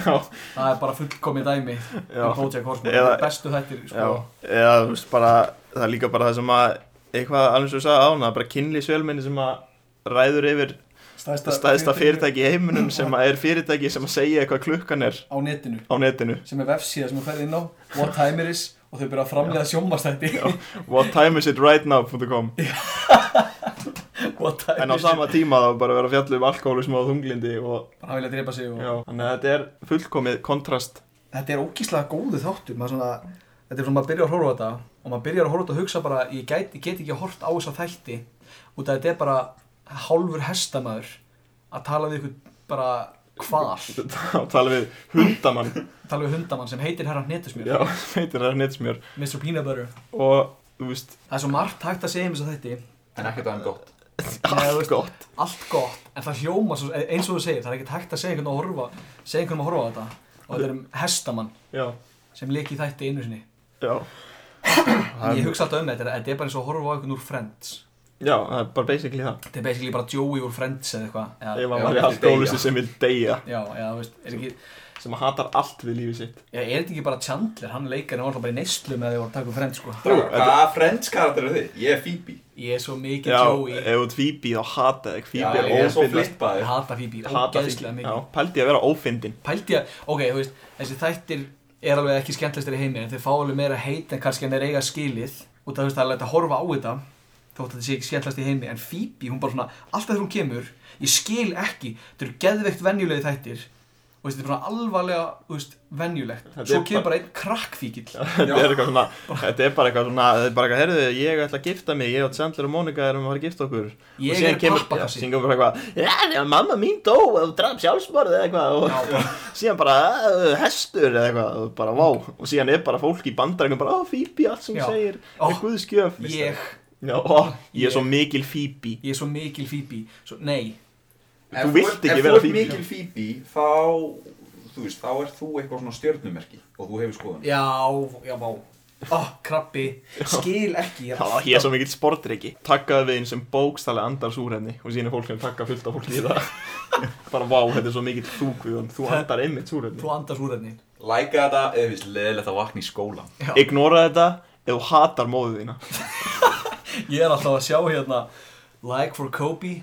C: Já,
B: það er bara fullkomið dæmi
C: Já.
B: um Bojack Horseman
C: Eða-
B: Eða... bestu þættir sko.
C: Já, eða þú veist bara, það er líka bara það sem að eitthvað alveg svo sagði ána, bara kynlísvelminni sem að ræður yfir
B: stæðsta,
C: stæðsta fyrirtæki í heiminum sem að er fyrirtæki sem að segja eitthvað klukkan er
B: á netinu
C: á netinu
B: sem er vefsíða sem þú ferð inn á what time it is og þau byrja að framlega sjómastætti
C: what time is it right now.com
B: what time
C: en á
B: is
C: sama tíma þá bara vera að fjalla um alkoholism og þunglindi og
B: it hann vilja drepa sig og
C: já, þannig að þetta er fullkomið kontrast
B: þetta er ógíslega góðu þáttur maður svona þetta er svona maður byrjar að horfa á þetta og maður byrjar að horfa á þetta og hugsa bara ég get, ég get ekki hort á þessa þætti út af þetta er bara hálfur hestamæður að tala við ykkur bara hval
C: þá tala við hundamann
B: tala við hundamann sem heitir herra hnetusmjör
C: já, sem heitir það nettsmjör
B: Mr. Peanut Butter
C: og þú veist,
B: það er svo margt hægt að segja um þessa þætti
D: en ekkert aðeins gott
B: þú
C: allt
B: veist-
C: gott
B: allt gott en það hljóma svo, eins og þú segir það er ekkert hægt að segja einhvern að horfa segja einhvern um að horfa á þetta og þetta er um hestamann
C: já,
B: sem leik í þætti einu sinni
C: já
B: en ég hugsa alltaf um þetta þetta er bara eins og að horfa á einhvern úr Friends
C: já, það er bara basically það
B: Þetta er basically bara Joey úr Friends eða eitthvað eða-
C: ef hann
D: Já,
C: var í
D: vill
C: alkohólusi
D: deyja.
C: sem vil deyja
B: Já, já, þú veist, er, ekki,
C: sem hatar allt við lífið sitt
B: já, er þetta ekki bara Chandler, hann leikar hann var alltaf bara í neyslu með því voru að taka upp Friends sko
C: Jú,
D: Hvaða Friends karakter er þið? Ég er Phoebe
B: Ég er svo mikið
C: Já,
B: Joey,
C: ef þú Phoebe þá hata þig
D: Já,
C: Phoebe
D: ég er
C: er
D: svo
C: ófindast
B: ég
D: flippaður
B: hata Phoebe,
C: hata
B: ógeðslega
C: Phoebe, já,
B: mikið
C: pældi ég að vera ófindin
B: Pældi ég, ok, þú veist, þessi þættir er alveg ekki skemmtlistir í heimi en þeir fá alveg meira heit en kannski en þeir eiga skilið út af þú veist, það er lægt að horfa á þetta þótt að þetta sé ekki skemmtlist í heimi en Phoebe, hún bara svona, alltaf þegar hún kemur ég skil ekki, þetta eru geðveikt venjulegi þættir og þú veist, þetta er bara alvarlega, þú veist, venjulegt
C: Þetta er
B: svo kemur
C: bara-
B: bara einn krakkfíkil
C: þetta er eitthvað svona, þetta er bara eitthvað svona þetta er bara eitthvað, herðu, ég ætla að gifta mig ég og Chandler og Monica erum að fara að gifta okkur og
B: Ég
C: síðan
B: er
C: kemur, já,
B: pappakassi.
C: síðan kemur bara eitthvað já, já, mamma mín dó og draf sjálfsmörð eða eitthvað og síðan bara, "Eh, hestur eða eitthvað og bara, vá, og síðan er bara fólk í bandarækjum bara, ó, Phoebe, allt sem
B: Já.
C: hún segir
B: Ó,
C: er guðskjöf
B: ég,
C: já, ó, ég
B: Ég.
C: er svo mikil Phoebe
B: ég er svo mikil Phoebe svo, nei,
C: Þú vilt ekki vera Phoebe.
D: Ef þú ert mikil Phoebe, þá, þú veist, þá er þú eitthvað svona stjörnumerki og þú hefur skoðan.
B: já, já, vá oh, krabbi, skil ekki ég er
C: Já, ég er svo mikill sportreiki Takkaði við einn sem bókstælega andars úr henni Og síðan er fólk sem takka fullt af fólki í það Bara vá, þetta er svo mikill þú Guðjón Þú andar einmitt úr henni
B: Þú andast úr henni
D: Læka þetta ef þið finnst leðilegt að vakna í skólan.
B: Já.
C: Ignora þetta ef þú hatar móðu þína
B: Ég er alltaf að sjá hérna Like for Kobe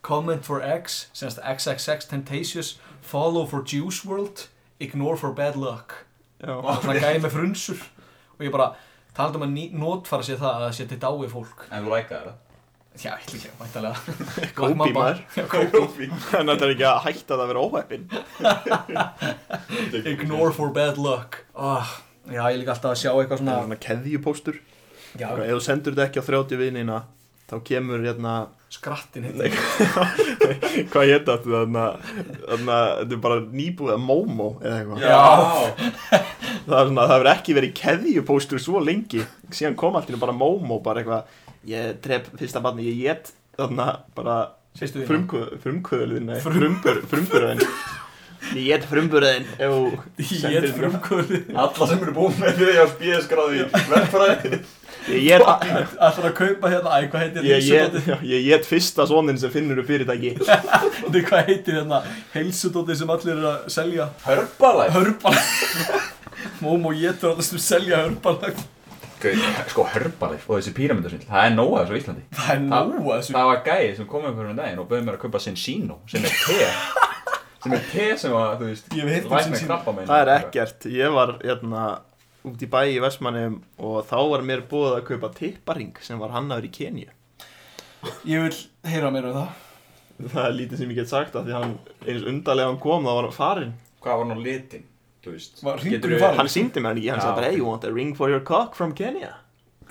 B: Comment for X Senast XXX Temptations Follow for Juice WRLD Ignore for Bad Luck
C: Já,
B: Og svona gæði með frunsur Og ég bara Talandi um að ný- notfæra sér það að það sé til dái fólk
D: En þú læka þetta.
B: Já, ég líka, væntalega
C: Kobe,
B: Mamma-
C: maður.
B: Já, Kobe
C: en þetta er ekki að hætta það að vera óheppin
B: Ignore for Bad Luck oh, Já, ég líka alltaf að sjá eitthvað
C: Það er
B: svona
C: svona keðjupóstur
B: Já,
C: Ef þú sendur þetta ekki á 30 vinina þá kemur hérna
B: Skrattin hérna.
C: Nei,
B: heitir
C: hvað ég þetta aftur þarna þarna, þetta er bara nýbúið að Momo eða eitthvað
D: Já,
C: það, er svona, það hefur ekki verið keðjupóstur svo lengi síðan kom allt í einu bara Momo bara eitthvað ég tref fyrsta barni ég get þarna bara
B: Sýstu þín
C: frumkvöðlun
B: hérna. Frum-
C: frumburðin ég get frumburðin ef þú
B: Ég
C: sendir
B: er
C: mér-
B: frumkvöli
D: alla sem eru búin með því að BS-gráði verðfræði
C: ég get
B: Ætlar að kaupa hérna, æ, hvað heitir
C: Ég get,
B: heilsudótið?
C: já, ég get fyrsta sonin sem finnur upp fyrirtæki
B: Nei, hvað heitir hérna heilsudótið sem allir eru að selja?
D: Hörbalæk
B: Hörbalæk Momo getur alltaf sem selja hörbalæk
D: Sko, hörbalæk og þessi píramindasvill Það er nóa þessu á Íslandi
B: Það er nóa þessu
D: Það var gæi sem kom um fyrir en daginn og bauði mér að kaupa Sensino sem er te sem er te sem að, þú veist
B: Ég hef heyrt um
D: lækna
B: Sensino.
D: krabbamein.
C: Það er ekkert, ég var hérna út í bæ í Vestmannum og þá var mér búið að kaupa tipparing sem var hannaður í Kenju
B: Ég vil heyra meira um það
C: Það er lítið sem ég get sagt að því hann eins undarlega hann kom þá var hann farinn
D: Hvað var nú litin? Þú veist
B: Var hringurinn
D: geturðu-
B: farinn?
C: Hann síndi mér hann ekki, hann
D: Já,
C: sagði bara
D: ok.
C: Hey, you want a ring for your cock from Kenya?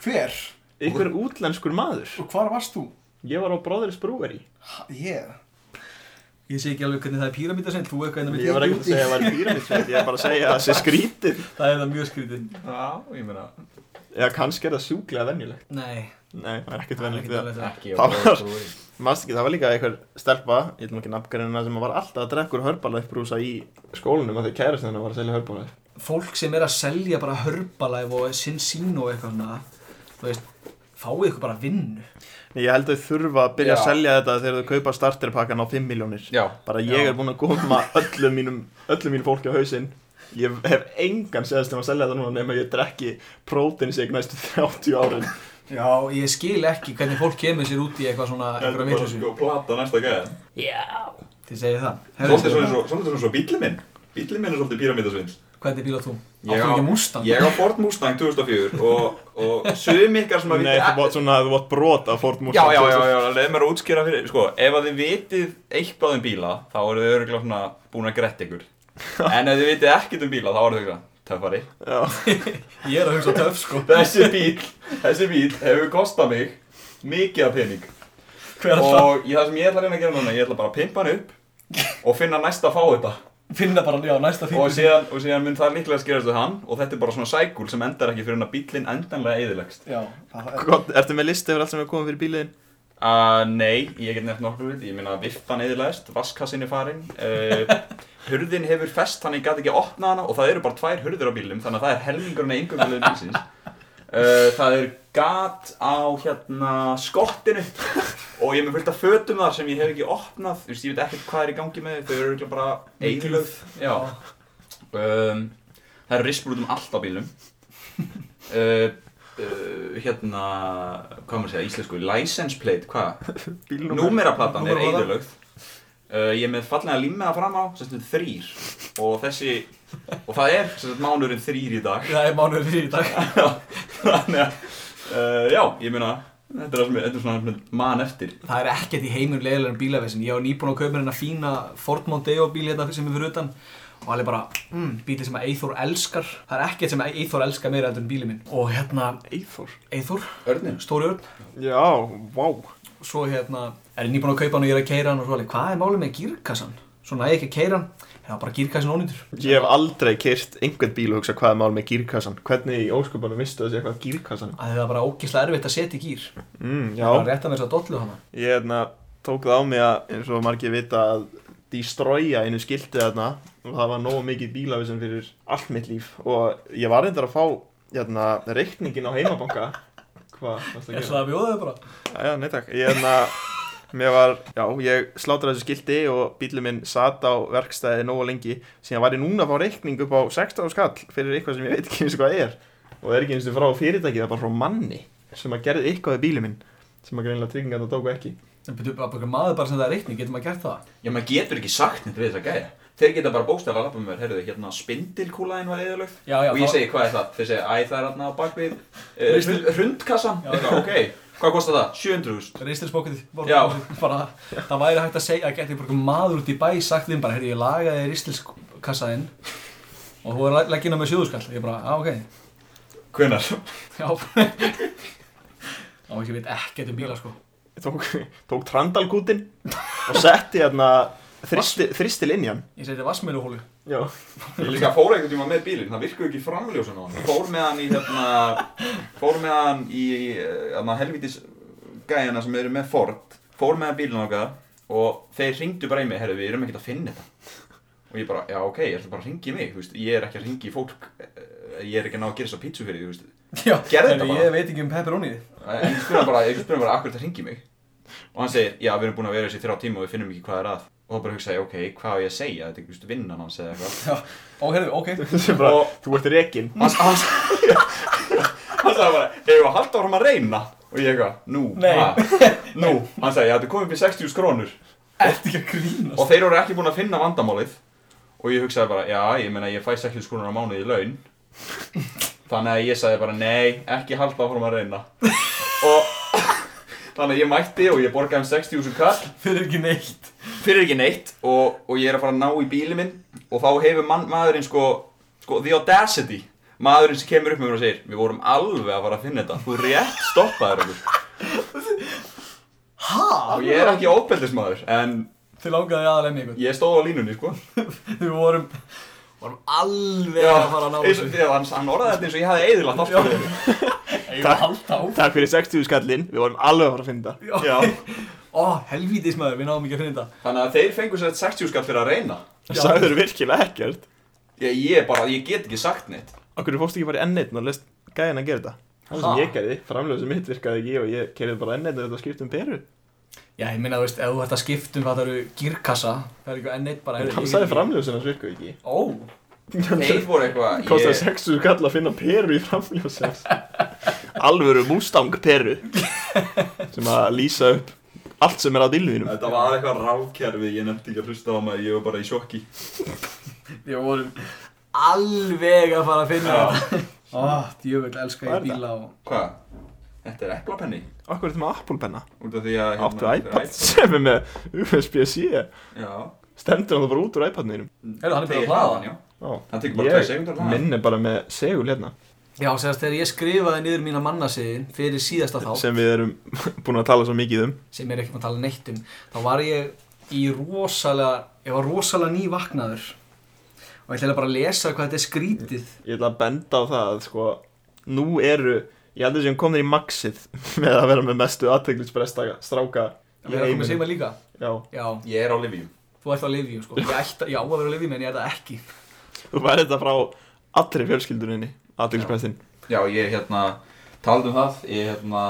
B: Hver?
C: Ykkur útlenskur maður
B: Og hvar varst þú?
C: Ég var á Brothers Brewery
B: Ha, Ég Ég sé ekki alveg hvernig það er píramítasinn Þú eitthvað hérna með
C: Ég var
B: tekið
C: ekki að segja að það var pyramidsveit, ég var bara að segja að það sé skrítið
B: Það er það mjög skrítið
D: Já, ég meina
C: Eða kannski er það sjúklega venjulegt
B: Nei
C: Nei, það er ekkert
B: það er
C: venjulegt
B: ekki
C: við það
B: alveg það.
C: Það
D: Ekki
C: var-
D: brúi.
C: Mast ekki, það var líka einhver stelpa, ég ætlum ekki nafngarina, sem var alltaf að drekka úr hörbalæfbrúsa í skólanum að því kærist hennar var að selja hörbalæf.
B: Fólk sem er að selja bara hörbalæf og sinsín og eitthvað svona Þú veist Fáið ykkur bara vinnu
C: Ég held að þau þurfa að byrja að
D: Já.
C: selja þetta þegar þau kaupa starterpakkan á 5 miljónir.
D: Já,
C: Bara ég
B: Já.
C: er búinn að koma öllum mínum, öllum mínum fólki á hausinn. Ég hef engan séðast um að selja þetta núna nema ég drekki prótinsig næstu 30 árin.
B: Já, ég skil ekki hvernig fólk kemur sér út í eitthvað svona
D: þetta
B: einhverja
D: er bara
B: vitleysu.
D: sko plata næsta gæði
B: Þið segir það.
D: Svolítið svona eins og- svolítið svona svo bílið minn Bílið minn er svolítið píramindasvill
B: Hvernig bíl á þú? Áttu
D: Ég á-
B: ekki Mustang?
D: Ég á Ford Mustang 2004 og, og sögum ykkar sem að
C: Nei, þú bótt svona, þú bótt brot af Ford
D: Já,
C: Mustang.
D: já, já, já, leið mér að útskýra fyrir Sko, ef að þið vitið eitthvað um bíla þá eru þið öruglega svona búin að gretta ykkur En ef þið vitið ekkert um bíla þá eru þið svona töffari
C: Já.
B: Ég er að hugsa töf, sko.
D: Þessi bíl, þessi bíl hefur kostað mig mikið af pening
B: Hver er það?
D: Og í það sem ég ætla að reyna að gera núna ég ætla bara að pimpa hann upp og finna næsta að fá þetta
B: Finna bara, já, næsta
D: og
B: fíl.
D: síðan, og síðan mun það líklega skýrast við hann og þetta er bara svona sækúl sem endar ekki fyrir hann að bílinn endanlega eðilegst
B: Já, það er...
C: Gott, ertu með listi yfir allt sem er komið fyrir bíliðin?
D: Uh, nei, ég get nefnt nokkur hlut, ég meina viftan eðilegst, vaskassin er farinn, uh, hurðin hefur fest þannig ég gæti ekki opna hana og það eru bara tvær hurðir á bílum þannig að það er helmingurinn að yngum bílum bílsins uh, Það er gat á hérna skottinu og ég er með fullt af fötum þar sem ég hef ekki opnað, þú veist ég veit ekkert hvað er í gangi með þau, þau eru ekki bara eitlöð Já um, Það eru rispur út um allt á bílum uh, Uh, hérna, hvað maður segja, íslensku, license plate, hvað? Númeraplatan er
B: Númeraplatan.
D: eðurlögð uh, Ég er með fallega limmiða fram á sem sagt þrýr og þessi og það er sem sagt mánurinn þrýr í dag
B: Það er mánuður í dag.
D: þannig að uh, já, ég meina þetta er, það sem ég- þetta er svona mann eftir
B: Það er ekkert í heimur leiðilega en bílavesin. Ég á nýbúin að kaupa mér hérna fína Ford Mondeo bíl hérna sem er fyrir utan og alveg bara, mm, bíli sem að Eithor elskar. Það er ekkert sem að Eithor elskar meira heldur en bíli minn. Og hérna,
C: Eithor.
B: Eithor,
D: Örnin?
B: stóri örn,
C: Já, vá.
B: og svo hérna er ég nýbúin að kaupa hann og ég er að keira hann og svo alveg, hvað er málið með gírkassan? Svo næ ég ekki að keira hann, það var bara gírkassin ónýtur.
C: Ég hef aldrei kyrt einhvern bíl og hugsa hvað er mál með gírkassan Hvernig í ósköpunum vistu þessi eitthvað gírkassan
B: Að það var bara ógislega erfitt að setja í gír.
C: mm,
B: Það var
C: Já,
B: rétt að mér svo að dollu hana.
C: ég hérna, tók það á mig að eins og margir vita að destroya einu skiltið þarna og það var nógu mikið bílavísin fyrir allt mitt líf og ég var reyndar að fá hérna, reikningin á heimabanka Hvað, hvað
B: Ég ætlaði að bjóða þau bara.
C: Já, nei takk Ég hérna Mér var, já, ég slátraði þessu skildi og bílum minn sat á verkstæði nógu lengi síðan var ég núna að fá reikning upp á 16 skall fyrir eitthvað sem ég veit ekki eins og hvað er og er ekki eins og frá fyrirtæki, það er bara frá manni sem að gerði eitthvað við bílum minn sem að greinlega tryggingar það tóku ekki
B: En betur bara bara maður bara sem það er reikning, getur maður gert það?
D: Já, maður getur ekki sagt neitt við þessa gæja Þeir geta bara bókstæðlega að lappa með mér, heyrðu, hérna spindilkúlaðin var eðurlögð
B: Já, já,
D: og ég
B: þá-
D: segi, hvað er það? Þeir segja, æ, það er hérna á bakvið
B: Veistu-
D: uh, Hrundkassan?
B: Já.
D: Eitthvað, ok, hvað kostar það? 700.000
B: Ristilsbókið,
D: Já.
B: bara, það væri hægt að segja, að getur bara maður út í bæ sagt þeim bara, heyrðu, ég lagaði ristilskassaðinn og þú er leggina með sjöðuskall. Ég bara, á, ok,
D: Hvenær?
B: já. já, ég veit ekkert um bíla, sko.
C: tók, tók trandalkútin og setti hérna þristil, þristil inn í hann
B: Ég seti vassmeiluhólu
C: Já,
D: Ég líka fór einhvern tíma með bílinn, það virkuðu ekki framljósun á hann. Fór með hann í hérna, fór með hann í eh, hérna, helvitis gæjana sem eru með Ford, fór með hann bílinn okkar og þeir ringdu bara í mig, herru við erum ekkert að finna þetta. Og ég bara, já ok, ég ætla bara að ringi í mig, þú veist, ég er ekki að ringi í fólk, eh, ég er ekki að ná að gera þessa pítsu fyrir því, þú veist.
B: Já,
D: Gerðu þetta
B: en
D: bara.
B: Ég veit ekki um pepperoni
D: En ég spurði hann bara, ég spurði hann bara, akkur þetta ringi mig? Og hann segir, já við erum búin að vera þessi þrjá tíma og við finnum ekki hvað er að. Og þá bara hugsa ég, ok, hvað á ég að segja, þetta er ekki, þú veist, vinnan hans eða eitthvað.
B: Ó, heyrðu, ok
C: sem bara,
D: Og-
C: þú ert rekinn
D: hann hann- hann sagði bara, hefur að halda áfram að reyna og ég eitthvað, nú,
B: Nei.
D: ha, nú hann sagði, já, þetta komið upp í 60 skrónur
B: Ertu ekki að grínast
D: og þeir voru ekki búin að finna vandamálið og ég hugsaði bara, já, ég meina, ég fæ 60 skrónur á mánuði í laun þannig að ég sagði bara, nei, ekki halda áfram að reyna og þannig að ég mætti og ég borgaði um 60.000 kall
B: Fyrir ekki neitt
D: fyrir ekki neitt og, og ég er að fara að ná í bílinn minn og þá hefur mann, maðurinn sko, sko the audacity maðurinn sem kemur upp með mér og segir við vorum alveg að fara að finna þetta þú rétt stoppaðir okkur og ég er ekki ópeldismadur en
B: Þið langaði aðal enni ykkur
D: ég stóð á línunni sko
B: Við vorum Vorum alveg
D: Já,
B: að fara að ná
D: eins og- þegar hann, hann orðaði þetta eins og ég hafði eðilagt aftur
B: Ég var að halda á
C: Takk fyrir 60 skallinn, við vorum alveg að fara að finna það
B: Já. Ó, helvítis maður, við náum ekki að finna þetta
D: þannig að þeir fengur sér 60 skall fyrir að reyna
B: Já.
C: Sagður virkilega ekkert
D: ég, ég bara, ég get ekki sagt neitt
C: Akkur fórstu ekki bara enn einn og leist gæðin að gera þetta Það sem
B: Ha?
C: ég gerði, framlöðu sem mitt virkaði ekki og ég kerði bara enn einn og þetta skipt um peru
B: Já, ég minna, þú veist, ef þú ert að skipta um hvað það eru girkassa Það er ekki enn eitt bara heyrðu,
C: Hann
B: ég
C: sagði
B: get ekki-
C: framlöðu sem hans virkaði ekki
B: Ó,
D: þeir voru eitthvað
C: Kostaði
D: ég-
C: 60 kall að finna peru í framljósins Alvöru Mustang peru Sem að lýsa upp allt sem er að dilvinum
D: þetta var eitthvað ráðkerfi ég nefndi ekki að hlusta á maður, ég var bara í sjokki
B: við vorum alveg að fara að finna
D: Já.
B: þetta Ó, djöfull, elska
C: Hvað er
B: ég bíla og
D: Hvað? Þetta er eplapenni
C: Akkur er þetta með Apple penna
D: Út af því að hérna
C: Áttu iPad sem er með USB-C
D: Já
C: Stendur hann bara út úr iPadninum
B: Heyrðu, hann er byrjað að
D: Tegir
B: hlaða.
D: hann, já.
C: Ó,
D: Hann tekur bara tvei
C: Ég
D: sekundur hlaða
C: minn er bara með segul hérna
B: Já, segast þegar ég skrifaði niður mína mannasiðin fyrir síðasta þá,
C: Sem við erum búin að tala svo mikið um
B: sem ég er ekki maður að tala neitt um, þá var ég í rosalega, ég var rosalega nývaknaður og ég ætla bara að lesa hvað þetta er skrítið.
C: Ég ætla að benda á það að sko Nú eru, ég heldur sem komnir í maxið Með að vera með mestu aðteglisbresta stráka í
B: Ég er að koma
C: heiminum.
B: að segja maður líka.
C: Já,
B: Já,
D: Ég er á Livium
B: þú ætti að lifi, sko. Ég ætti, já, að vera að lifi, menn ég er það ekki.
C: þú væri þetta frá allri fjölskylduninni aðeinsprestinn
D: Já, ég hérna Talandi um það Ég hérna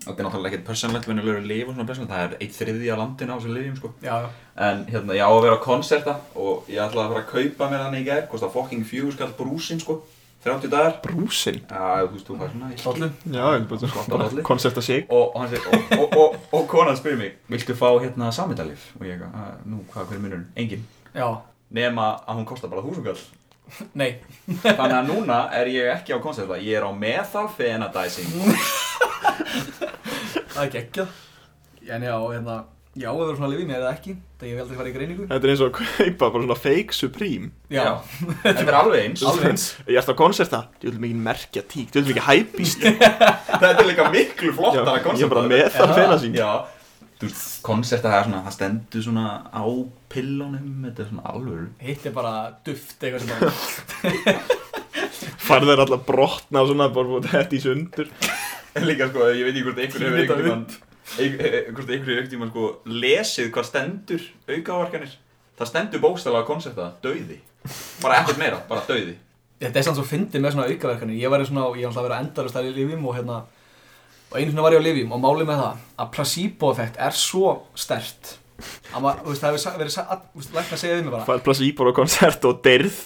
D: Þetta er náttúrulega ekkert persónlegt Venjulegur liv og svona blessun Það er eitt þriðja landin á þessu Livium sko
B: Já, já.
D: En hérna, ég á að vera á konserta Og ég ætla að fara að kaupa mér hann í gær Kosta fucking fjögur skall brúsin sko 30 dagar
C: brúsin
D: Já, þú veist, þú fær svona illt.
B: Dollum.
C: já, ég bara
D: Gott að
C: svona
D: allir.
C: koncept að sig
D: og, og, hann seg, og, og, og, og konan spyr mig Viltu fá hérna samendalif? Og ég eitthvað, "Ah, nú, hvað, hver er munurinn? Engin
B: Já,
D: Nema að hún kostar bara þúsungall
B: nei.
D: Þannig að núna er ég ekki á konserta Ég er á methalfenadizing
B: Það er geggjað. En já, hérna, já, að vera svona að lifi, menn ég er það ekki. Það ég vil aldrei fara í greiningu.
C: þetta er eins og að kaupa bara svona fake supreme
B: Já,
D: Já. Þetta er alveg eins
B: alveg eins.
C: ég ætla á koncert það, ég vil mikið merkja tík ég vil mikið hæpist
D: Þetta er líka miklu flottara
C: ég er
D: konserta
C: bara með það
B: það?
C: fena sín
D: Já Þú veist, konserta það er svona, það stendur svona á pillunum Þetta er svona alvöru
B: Hitt er bara duft, eitthvað sem bara...
C: farðar alltaf brotna og svona bara búið þetta í sundur
D: En líka sko, ég veit ekki hvort einhvern hefur
B: Þetta
D: einhvern tímann einh- eh, hvort einhvern hefur einhvern tímann sko lesið hvað stendur aukavarkanir Það stendur bókstælega á koncepta, dauði Bara ekkert meira, bara dauði
B: Þetta er samt svo fyndið með svona aukaverkanir. Ég var svona, ég var alltaf að vera endalust þar í lifjum og hérna og einu svona var ég á lifjum og málið með það að placebo-effekt er svo stert að maður, þú veist, það hefur sa- verið sa- að- þú veist, lækna að segja við mig bara
C: farð placebo á koncert og dyrð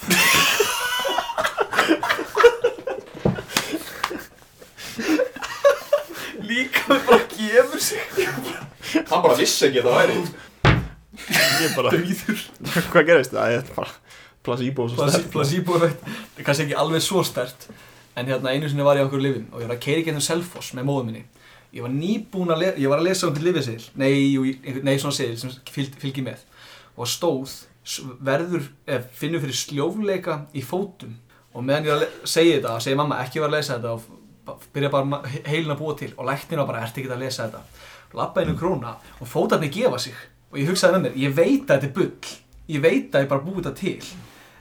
B: Líka bara gefur sig
D: Hann bara vissi ekki að það væri
C: ég bara,
B: Dauður
C: hvað gerist það, ég er bara placebo og sko, svo
B: Placi-
C: stærkt
B: Placebo-effekt er kannski ekki alveg svo stert en hérna einu sinni var ég á okkur lifjum og ég var að keiri gennum Selfoss með móðum minni ég var nýbúin að, le- ég var að lesa um til lifjaseðil nei, jú, einhver- nei, svona seðil sem fylg, fylgir með og stóð s- verður, eh, finnur fyrir sljófleika í fótum og meðan ég var að le- segja þetta, segja mamma ekki var að lesa þetta og f- byrja bara ma- he- heilin að búa til og læknir var bara, ertu ekki að lesa þetta lappa inn um króna og fótarnir gefa sig og ég hugsaði með mér, ég veit að þetta er bull ég veit að ég bara búið þetta til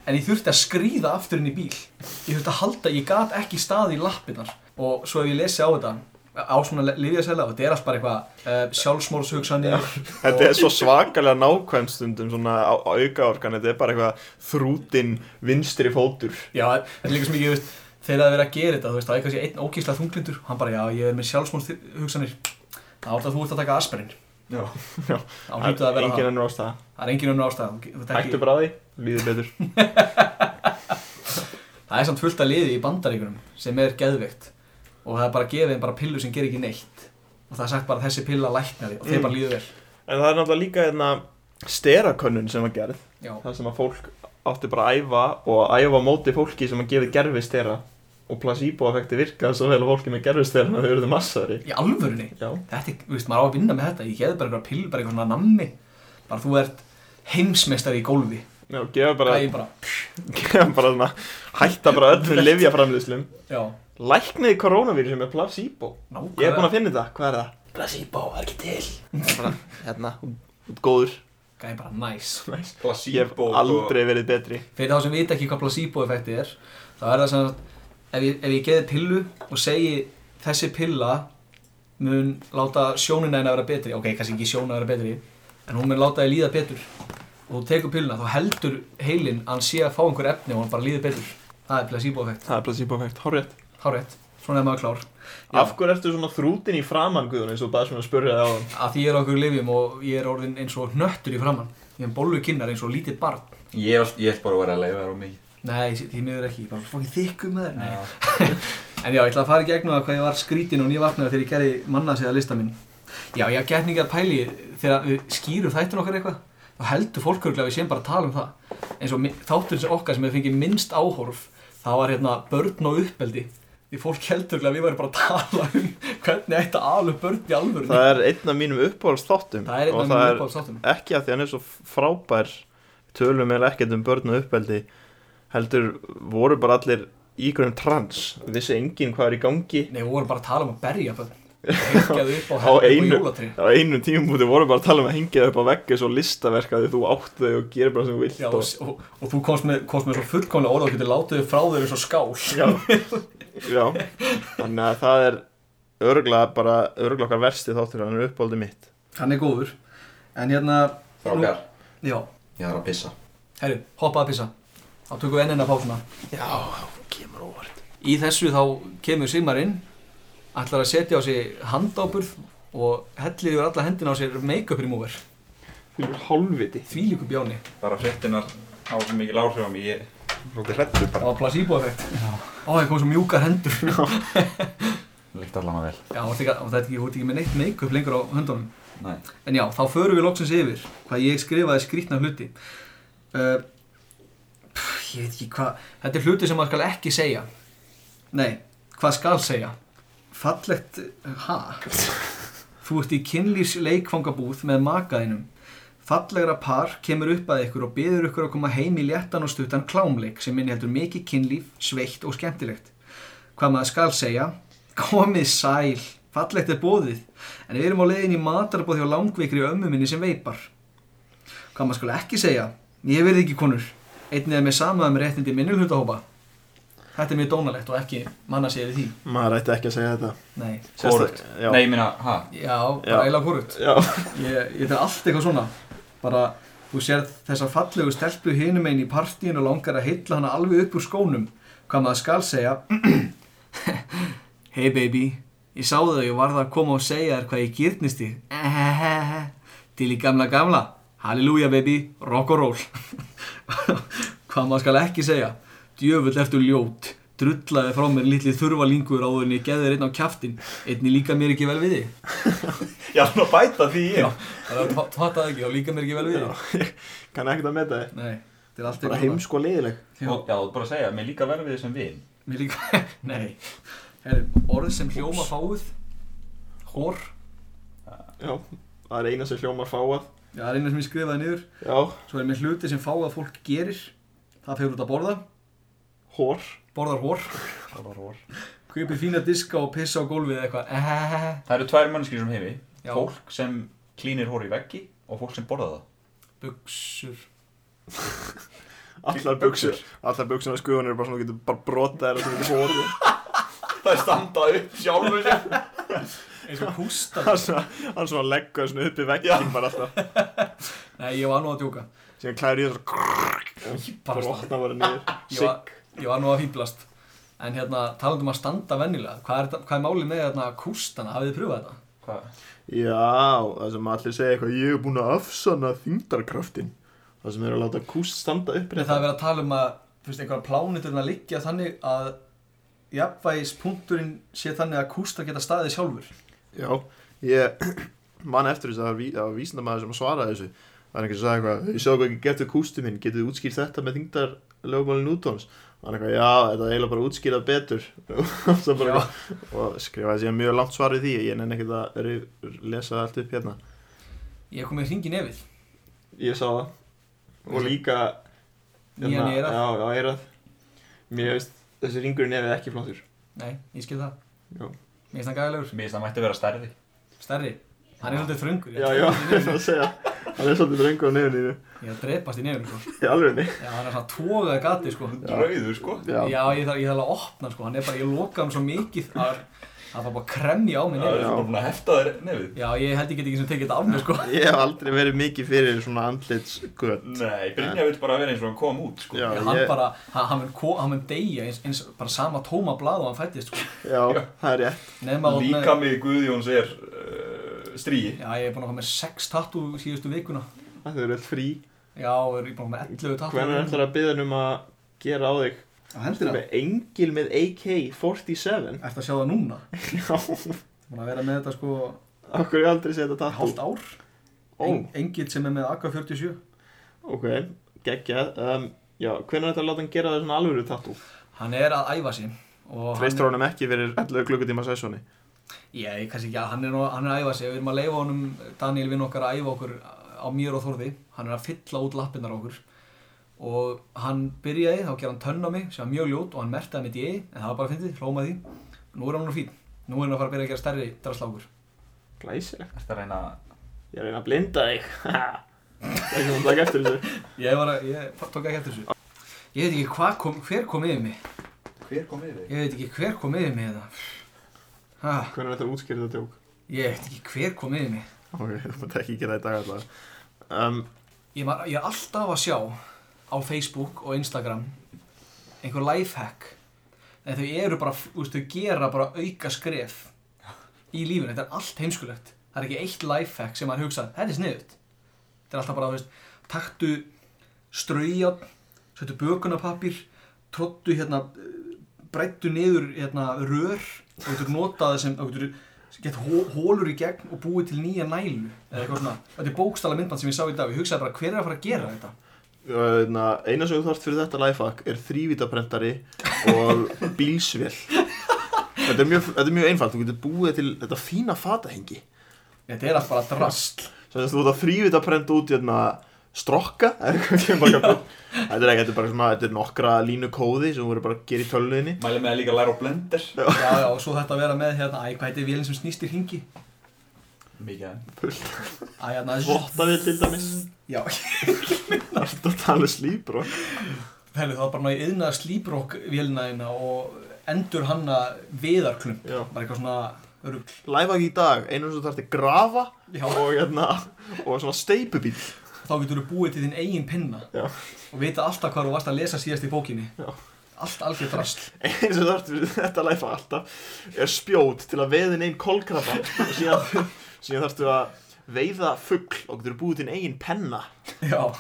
B: en ég þurfti að skríða aftur inn í bíl ég þurfti að halda, ég gat ekki staði í lappinnar og svo ef ég lesi á þetta á svona lifið að selja þetta er allt bara eitthvað uh, sjálfsmórshugsanir
C: Þetta er svo svakalega nákvæm stundum svona á, á aukaorkan, þetta er bara eitthvað þrútin vinstri fótur
B: Já, þetta er líka sem ég, veist, þegar það er verið að gera þetta, þú veist, það er kannski einn ógísla þunglindur, hann bara, já, ég er með sjálfsmóns hugsanir, þá er það þú ert að taka aspirin,
D: Já.
B: þá hýttu það að vera
C: Engin ennur ástæða
B: það, það er engin önnur ástæða, þú- þú
C: Hættu
B: tekki,
C: bara á því, líður betur
B: það er samt fullt að liði í bandaríkunum sem er geðveikt og það er bara gefið þeim bara pillu sem ger ekki neitt og það er sagt bara þessi pilla lækna því og þeir
C: Mm.
B: bara líður vel,
C: En það er náttúrulega líka hérna sterakönnun sem var gerð
B: já,
C: Það sem að fólk átti bara að æfa og að æfa á móti fólki sem að gefi gerfi stera Og placebo-effekti virkaði svo vel að fólki með gerfi stera að þau eruðu massari
B: í alvörunni,
C: Já,
B: þetta er, þú veist, maður á að vinna með þetta, ég geði bara eitthvað pill, bara eitthvað svona nammi, bara þú ert heimsmeistari í gólfi,
C: já, gefa bara,
B: það er bara,
C: gefa bara svona, hætta bara öllum livjaframlýslum
B: já,
C: Lækniði koronavíru sem er placebo Ég er búinn að finna þetta, hvað er það?
B: Placebo, það er ekki til
C: Bara, hérna, út góður
B: Gæði bara næs
C: Næs. Ég hef
B: sko.
D: Placebo
C: aldrei verið betri
B: Fyrir þá sem vita ekki hvað placebo-effekti er þá er það sem að ef ég, ef ég geði pillu og segi þessi pilla mun láta sjónina henni að vera betri ok, kannski ekki sjónina að vera betri en hún mun láta þið líða betur og þú tekur pilluna, þá heldur heilin að hann sé að fá einhver efni og hann bara líður betur það er placebo-effekt,
C: Það er placebo-effekt, horrið
B: hárétt svona er maður klár Já.
C: Af hverju ertu svona þrútin í framann, Guðun, eins og bara svona spurði það á hann
B: að því ég er á okkur lifjum og ég er orðin eins og hnöttur í framann ég er bollu kinnar eins og lítið barn
D: Ég held- ég held bara að vera að leiða þér á mikið
B: Nei, því miður ekki, ég bara fókið þykku með þér Nei. En já, ég ætla að fara í gegnum það hvað ég var skrítin og nývapnaður þegar ég gerði manna séða lista minn Já, ég get ekki að pæli þegar við skýrum þættun okkar eitthvað þá heldur fólk örgulega að við séum bara að tala um það eins og mi- þátturinn sem okkar sem hefur fengið minnst áhorf það var hérna börn og uppeldi því fólk heldur örgulega að við væri bara að tala um hvernig ætti að ala upp börn í alvörunni
C: Það er einn af mínum uppáhaldsþáttum
B: Það er
C: og
B: einn af mjög uppáhalds þáttum
C: er ekki að því hann er svo frábær tölum er ekkert um börn og uppeldi heldur voru bara allir í hverjum trans vissi enginn hvað er í gangi
B: Nei, við vorum bara að tala um að berja börn Hengjaðu upp á,
C: Á
B: upp á
C: einu.
B: jólatrí
C: á einum tímumúti voru bara að tala um að hengja upp á veggi svo listaverka því þú átt þau og gerir bara sem þú vilt
B: Já, og,
C: og,
B: og, og þú komst með, komst með svo fullkomlega orð og getur látið þau frá þau eins og skál
C: já, já þannig að það er örgla bara örgla okkar versti þáttur hann er uppáldi mitt
B: Hann er góður En hérna,
D: Frákar,
B: já,
D: ég þarf að pissa
B: herru, hoppa að pissa Þá tökum við ennina pásuna
E: Já, kemur óvart.
B: Í þessu þá kemur Sigmarinn Ætlar að setja á sig handáburð Og hellir yfir alla hendina á sér make-up remover
C: fyrir hálfviti
B: Þvílíku bjáni
D: Bara fréttinar hafa svo mikið láhrif á mig Ég er svolítið hrettur
B: Það
D: bara
B: var placebo-effekt Ó, það kom svo mjúkar hendur
D: Líkt allan að vel
B: Já, þú ert ekki- þú ert ekki, þú ert ekki með neitt make-up lengur á höndunum
D: Nei
B: En já, þá förum við loksins yfir hvað ég skrifaði skrítna hluti. Uh, pff, ég veit ekki hvað, þetta er hluti sem maður skal ekki segja. Nei, hvað skal segja? Fallegt, ha? Þú ert í kynlýs leikfangabúð með makaðinum. Fallegra par kemur upp að ykkur og byður ykkur að koma heim í léttan og stuttan klámleik sem minni heldur mikið kynlíf, sveitt og skemmtilegt. Hvað maður skal segja? Komið sæl, fallegt er bóðið, en við erum á leiðin í matarbóð hjá langveikri ömmu minni sem veipar. Hvað maður skal ekki segja? Ég verði ekki konur. Einnig er með sama um réttindi minnulhundahópa. Þetta er mjög dónalegt og ekki manna segir því.
C: maður ætti ekki að segja þetta
B: Nei.
D: Hvorugt.
C: Sérsta- já.
D: Nei, ég meina, hæ?
B: Já,
C: Já.
B: bara eiginlega hvorugt.
C: Já.
B: Ég, ég þetta er allt eitthvað svona. Bara, þú sér þessa fallegu stelpu hinum einn í partíinu og langar að heilla hana alveg upp úr skónum. Hvað maður skal segja? Hey baby, ég sá þau og varð að koma og segja þér hvað ég gyrnist þig. Til í gamla gamla. Halleluja baby, rock and roll. hvað maður skal ekki segja? Djöfull ertu ljót. Drullaði frá mér litli þurfalingur áður en ég geði þér einn á kjaftin. Einni líka mér ekki vel við þig.
D: Ég er svona að bæta því
B: Já, það fattaði ekki, þá líka mér ekki vel við þig.
C: kann ekkert að meta þið
B: Nei, þetta er allt
C: bara
B: eitthvað
C: heimsko leiðileg
B: Já.
D: Já, þú ert bara að segja, mér líka verður við þessum vin
B: Mér líka, nei Herri, orð sem hljóma fáið Hór
C: Já, það er eina sem hljómar fáað
B: Já, það er eina sem ég skrifaði niður
C: Já,
B: Svo er mér hluti sem fáið að fólk gerir Það fyrir út að borða
C: hór
B: Borðar hór
D: Það
B: Kaupir fína diska og pissa á gólfið eða eitthvað
D: eru tvær mannskir sem heimi
B: Já.
D: Fólk sem klínir hóri í veggi og fólk sem borða það
B: Buxur
C: Allar buksur Allar buksur á skuðan eru bara svona þú getur bara brotað þær og þú getur hórið
D: Það er standað upp sjálfur sér
B: eins og kústa
C: Hann svona- hann svona leggur svona upp í veggin bara alltaf
B: Nei, ég var nú að djóka
C: Síðan klæður í þessu
B: Barasta.
C: brotna bara niður
B: Ég var- Ég var nú að fýblast En hérna, talandum að standa vennilega Hvað er, þetta- hvað er málið með hérna kústana? Hafið þið pröfað þetta?
D: Hvað?
C: Já, það sem allir segja eitthvað Ég er búinn að afsanna þyngdarkraftin Það sem er að láta kúst standa upp
B: Það er verið að tala um að þú veist, einhverja plániturinn að liggja þannig að jafnvægispunkturinn sé þannig að kústar geta staðið sjálfur
C: Já, ég man eftir þess að það var ví- það var vísindamæður sem svaraði þessu Það er einhver sem sagði eitthvað, ég sjá hvað ekki getur kústu minn, getið þið útskýrt þetta með þyngdar lögmálin útóms Það er eitthvað, já, þetta er eiginlega bara útskýrað betur Og svo bara, og skrifaði síðan mjög langt svar við því, ég nenni ekkert að rif- lesa allt upp hérna
B: Ég kom með hringi nefið
C: Ég sá það Og líka
B: Nýjan
C: hérna,
B: ég er að
C: Já, já, eirað Mér veist, þessi ringur er nefið ekki flottur
B: Nei, ég skil það
C: Já.
B: Mér finnst það gæðilegur
D: Mér finnst það mætti vera stærri
B: Stærri Hann er svolítið þröngur
C: Já, já, ég ætla að segja Hann er svolítið drengur á nefninu
B: Ég er að drepast í nefnum sko.
C: Í alvegni
B: Já, hann er svona tógað gatið sko
D: Drauður sko
B: Já, ég þarf, ég þarf að opna sko Hann er bara, ég loka hann svo mikið að það var bara kremja á mig
D: Það er
B: nefnum
D: svona búin að hefta þér nefið
B: Já, ég held ég get ekki sem tekið þetta af mér sko
C: Ég hef aldrei verið mikið fyrir svona andlitsgöt
D: Nei, Brynja vil bara vera eins og hann kom út sko
C: Já.
B: Já, hann
C: ég-
B: bara, hann, hann mun ko- hann mun deyja eins, eins bara sama tóma blað og hann fættist sko.
C: Já, það er rétt
B: Nefna á
D: Líka mig Guðjóns er uh, stríi
B: Já, ég er búinn að koma með 6 tattú síðustu vikuna
C: Það eru öll frí
B: Já, ég er búinn að koma með 11 tattú
C: Hvernig er ætlar að byggja um að gera á þig
B: Á hendina?
C: Með engil með AK-47
B: Ertu að sjá það núna?
C: Já,
B: Búinn að vera með þetta sko
C: okkur er aldrei séð þetta
B: hálft
C: tattoo
B: ár
C: Ó,
B: en, Engil sem er með AK-47
C: ok, geggjað um, Já, hvernig er ætlar að láta hann gera það svona alvöru tattoo
B: Hann er að æfa sig og
C: Treystur honum ekki fyrir 11 klukkutíma sessóni
B: Já, ég kannski ekki að hann er, nú- hann er að æfa sig Við erum að leifa honum, Daniel vinn okkar að æfa okkur á mér og Þorði Hann er að fylla út lappinnar á okkur og hann byrjaði, þá gerði hann tönn á mig sem var mjög ljót og hann mertaði með D.A. en það var bara fyndið, hlóma því Nú er hann nú fín, nú er hann að fara að byrja að gera stærri draslákur
C: Glæsileg
D: Ertu að reyna að
C: Ég er að reyna að blinda þig Það er ekki að taka eftir þessu
B: Ég var að, ég tók ekki eftir þessu Ég veit ekki hvað kom, hver kom yfir mig
D: Hver kom yfir þig?
B: Ég veit ekki hver kom yfir mig eða ha,
C: Hvernig er þetta að útskýra þetta tjók?
B: Ég veit ekki hver kom yfir mig
C: Ok, þú mátt ekki gera þetta í dag allavega um,
B: ég, var, ég er alltaf að sjá á Facebook og Instagram einhver lifehack en þau eru bara, þú veist, þau gera bara auka skref í lífinu, þetta er allt heimskulegt það er ekki eitt lifehack sem maður hugsa þetta er sniðut, þetta er alltaf bara, þú veist taktu straujátt settu bökunapapir trottu hérna breyttu niður hérna rör og þú getur notað það sem, þú getur gett hó- hólur í gegn og búið til nýja nælu eða eitthvað svona, þetta er bókstala myndband sem ég sá í dag, ég hugsaði bara hver er að fara að gera þetta
C: Uh, na, eina sem þú þarft fyrir þetta lifehack er þrývítaprentari og bílsvél þetta er, mjög, þetta er mjög einfalt, þú getur búið til þetta fína fatahengi
B: þetta er allt bara drast
C: sem þess að þú ert að þrývítaprenta út hérna, strokka eða eitthvað kemur bara eitthvað- þetta er ekki, þetta er bara svona, þetta er nokkra línu kóði sem þú verður bara að gera í tölunni
D: Mæli með að líka læra á blender
B: já, já, og svo þetta að vera með hérna, æ, hvað heitir vélinn sem snýst í ringi
D: Mikið enn
B: æ, hérna,
C: vottaði til dæmis
B: já,
C: þetta er talið slíbró
B: Helvi, það var bara ná í yðna slíbrokk vélina þína og endur hanna viðarklump,
C: Já.
B: bara eitthvað svona rugl,
C: lifehack í dag, eina sem þú þarft er grafa
B: já,
C: og, hérna, og svona steipubíl
B: þá getur þú búið til þinn eigin pinna
C: Já.
B: og vita alltaf hvað þú varst að lesa síðast í bókinni
C: Já.
B: allt algjör drast
C: eins og þarf fyrir þetta læfa alltaf er spjót til að veiðin einn kolkrabba og síðan, síðan þarftu að veiða fuggl og getur búið til einn penna
B: já,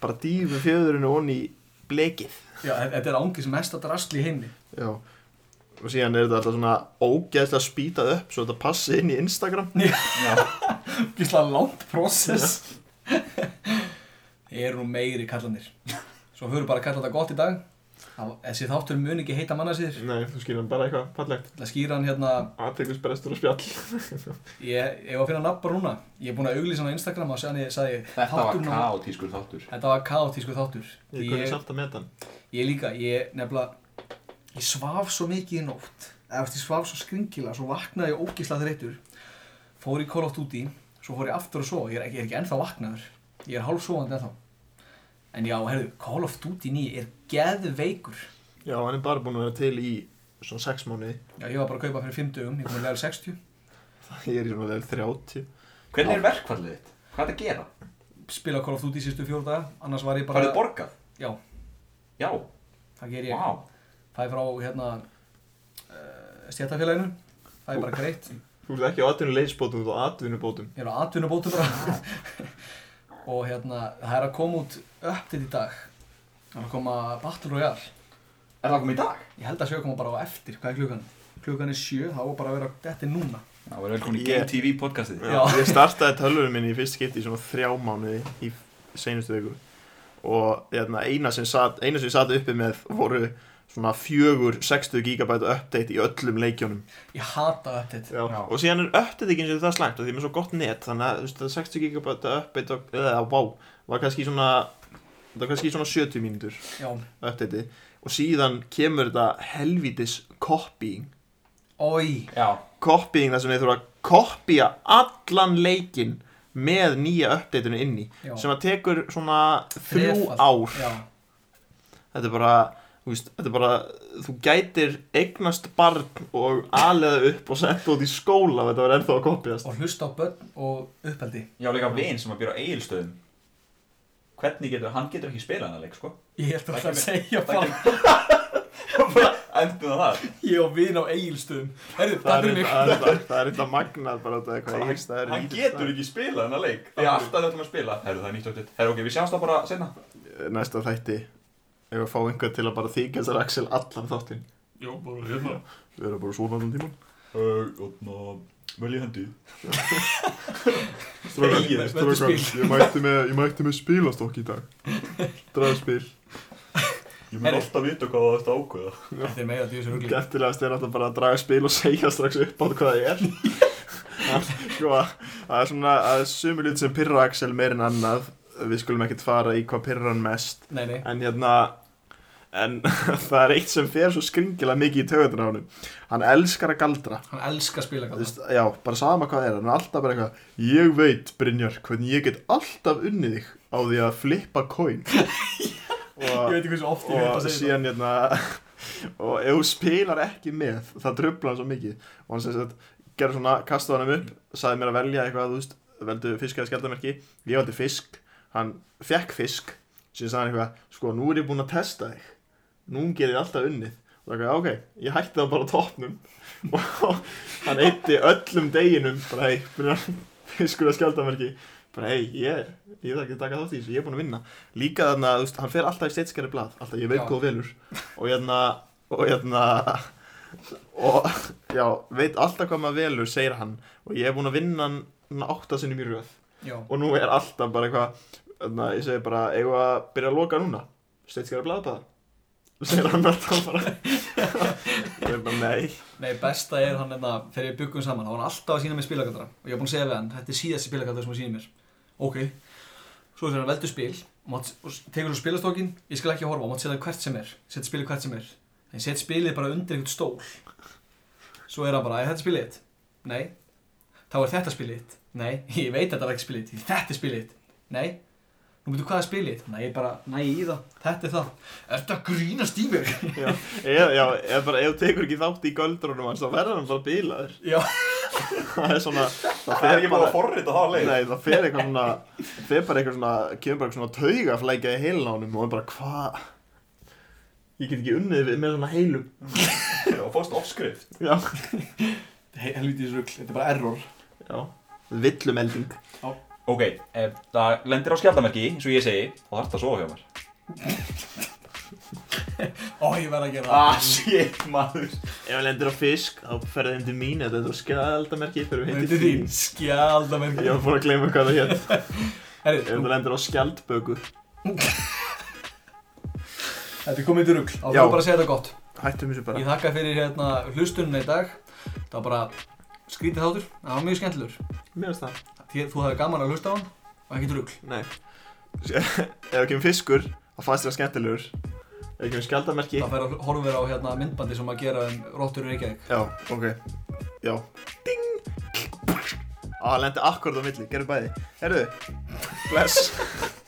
C: bara dýfu fjöðurinn og onni í blekið
B: já, þetta er ángið sem mesta drastl í heimni
C: já og síðan er þetta alltaf svona ógeðslega spýtað upp svo þetta passi inn í Instagram
D: Já,
B: Gísla langt process Ég er nú meiri kallanir Svo höfum við bara að kalla þetta gott í dag Það- Þessi þáttur mun ekki heita manna sér
C: nei, þú skilur hann bara eitthvað fallegt
B: Það skýra hann hérna
C: aðteglisbrestur og spjall
B: Ég ég var að finna nafn bara núna Ég er búinn að auglýsa hann á Instagram og sér hann ég sagði
D: þetta var
B: þátturinn á-
D: kaotískur þáttur
B: Þetta var kaotísku þáttur
C: ég kunni
B: ég,
C: samt að meta hann
B: ég líka, ég nefnilega Ég svaf svo mikið í nótt Eða þú veist, ég svaf svo skringilega Svo vaknaði ég ógísla þreyttur fór í Call of Duty svo fór ég aftur að sofa, ég er ekki, ég er ekki ennþá vaknaður ég er hálfsofandi ennþá en já, herðu, Call of Duty 9 er geðveikur
C: Já, hann er bara búin að vera til í svona 6 mánuði
B: já, ég var bara að kaupa fyrir 5 dögum, ég kom að legal 60
C: Ég er í svona level 30
D: Hvernig er verkfallið þitt? Hvað er að gera?
B: spila Call of Duty sístu fjóra daga, annars var ég bara
D: Farðu borgað?
B: já,
D: Já,
B: það ger ég
D: vá
B: fæ frá hérna uh, stjættafélaginu það er bara greitt
C: Þú ert ekki á atvinnuleysbótum, þú ert á atvinnubótum
B: ég er á atvinnubótu bara og hérna, það er að koma út uppdate í dag það er að koma Battle Royale
D: Er það komið í dag?
B: ég held að sjö koma bara á eftir, hvað er klukkan? klukkan er sjö, það var bara að vera þetta er núna
D: Já, við erum velkomin í
C: Ég-
D: Game TV podcastið
B: Já.
C: Ég startaði tölvunum minni í fyrst skipti í svona 3 mánuði í seinustu viku Og hérna, eina sem, sat, eina sem ég sat uppi með voru svona fjögur 60 gigabæta update í öllum leikjónum
B: ég hata uppdate,
C: Já. og síðan er uppdate ekki eins og það er slæmt af því ég er með svo gott net þannig að þú veist, að 60 gigabæta update og, eða wow, var kannski svona það var kannski svona 70 mínútur
B: já,
C: update og síðan kemur þetta helvítis copying
B: oi
D: Já,
C: copying þar sem þeir þurfa að kopja allan leikin með nýja updateinu inni
B: Já.
C: sem að tekur svona þrjú
B: Þrefalt.
C: ár
B: já,
C: þetta er bara Þú veist, þetta er bara, þú gætir eignast barn og aðlega upp og setta út í skóla ef þetta var ennþá að kopjast.
B: og hlusta á börn og uppeldi
D: ég á líka vin sem að býra á eigilstöðum Hvernig getur, hann getur ekki spilað hann leik, sko
B: ég held að
D: Það
B: það segja
D: það
B: bara
D: Endum það
B: ég og vin á eigilstöðum herru,
C: Það
B: það
C: er
B: er mig
C: eitthvað- það er eitthvað magnað bara þetta hvað
D: Hann-
C: eigist það er
D: Hann getur ekki spilað hann leik Þegar alltaf þetta ætlum að spila Herru, það er nýtt áttið Herru, ok, við sjáumst það bara senna
C: ekki Næsta þætti Ef við fá einhvern til að bara þykja þessar Axel allan þáttinn
D: Jó, bara hérna
C: Við erum bara svona allan tíman
D: Þannig, hérna, vel ég hendi
B: Þegið,
C: Strákar,
B: þetta er
C: strákar,
B: spil.
C: Ég mætti með, ég mætti með spilastokk í dag Draðspil
D: Ég
B: Herri.
D: alltaf vita hvað það eftir ákveða
B: þetta er mega djúsur ugli
C: Gættilegast er alltaf bara að draga spil og segja strax upp á hvað það er Hann- Sko, það er svona Það er sumur lítið sem pyrra Axel meir en annað Við skulum ekkert fara í hvað pyrra hann mest
B: nei, nei,
C: En hérna En það er eitt sem fer svo skringilega mikið í töðunar á hann Hann elskar að galdra
B: hann elskar
C: Þú
B: spilagata
C: veist, Já, bara sama hvað það er Hann er alltaf bara eitthvað Ég veit, Brynjar, hvernig ég get alltaf unnið þig Á því að flippa coin
B: ég veit
C: Og,
B: ekki hversu oft ég veit
C: og
B: að segja
C: síðan hérna Og ef þú spilar ekki með Það trublar hann svo mikið Og hann sem sagt, gerði svona, kastaði hann upp Saði mér að velja eitthvað, þú veist Veldu fisk eða skjaldamerki Ég veldi fisk, hann fekk fisk síðan sagði hann eitthvað, sko nú er ég búinn að testa þig nú gerir alltaf unnið og það er eitthvað, ok, ég hætti það bara á topnum og hann eitti öllum deginum, bara hei, byrjar fiskur að skjaldamerki, bara hei ég, ég þarf ekki að taka þátt í þessu, ég er búinn að vinna líka þarna, þú veist, hann fer alltaf í steitskæri blað alltaf, ég veit
B: Já.
C: hvað þú velur og hérna, og hérna og já, veit alltaf hvað maður velur, segir hann og ég er búinn að vinna hann svona átta sinni mjög röð
B: já,
C: og nú er alltaf bara eitthvað þannig ég segi bara, eigum við að byrja að loka núna steitskjara blaðbæða og segir hann alltaf bara ég er bara, nei
B: Nei, besta er hann hérna, þegar ég byggum saman, þá var hann alltaf að sína mér spilagaldra og ég var búinn að segja við hann, þetta er síðasti spilagaldra sem hann sýnir mér. Ok. Svo þegar hann veldur spil, mátt, og tegur svo spilastokkin, ég skal ekki horfa, mátt setja hvert sem er, setja spilið hvert sem er. En setja spilið bara undir einhvern stól. Svo er hann bara, er þetta spilið þitt? Nei. Þá er þetta spilið þitt? Nei. Ég veit að þetta er ekki spilið þitt, þetta er spilið þitt. Nei. Nú veitu hvað er spilið þitt? Nei, ég bara, næ í það, þetta er það. Ertu að grínast í mér?
C: já, eða, já, eða bara, ef þú tekur ekki þátt í göldrunum hans, þá verður hann bara bílaður
B: Já.
C: það er svona það
D: Það er
C: fer
D: ekki bara
C: bara
D: að forrita það leik
C: Nei, það fer eitthvað svona, fer bara eitthvað svona, kemur bara eitthvað svona taugaflækja í heilin á honum og hann bara, hvað, ég get ekki unnið við- með svona heilum.
D: Og fórst offskrift
C: Já,
B: Hel- Helvítið rugl, þetta er bara error.
C: já, villumelding.
D: Ok, ef það lendir á skjaldamerki, eins og ég segi Þá þarf það að sofa hjá mér
B: Ó, ég verð að gera það.
D: Ah, shit, maður
C: Ef hann lendir á fisk, þá ferði þeim til mín, þetta er þú skjaldamerki, fyrir við
B: Þetta er þín
C: Ég
B: skjaldamerki
C: var búin að gleyma hvað það hér. Ef
B: Herri,
C: það lendir á skjaldböku.
B: þetta er komið til rugl Þá
C: Já.
B: þurfum bara að segja þetta gott
C: Hættum þessu bara.
B: Ég þakka fyrir hérna hlustununa í dag Það var bara skrítið þáttur Það var mjög skemmtilegur
C: Mér finnst það.
B: Þér, Þú hafði gaman að hlusta á hann og ekkert rugl
C: Nei. Ef það kemur fiskur, þá fannst þér skemmtilegur. Ef það kemur skjaldamerki.
B: Það fær að horfa verið á hérna, myndbandi sem að gera um Rottur í Reykjavík
C: Já, ok. Já. Ding! Á, hann lendi akkurat á milli, gerðu bæði Herðu, bless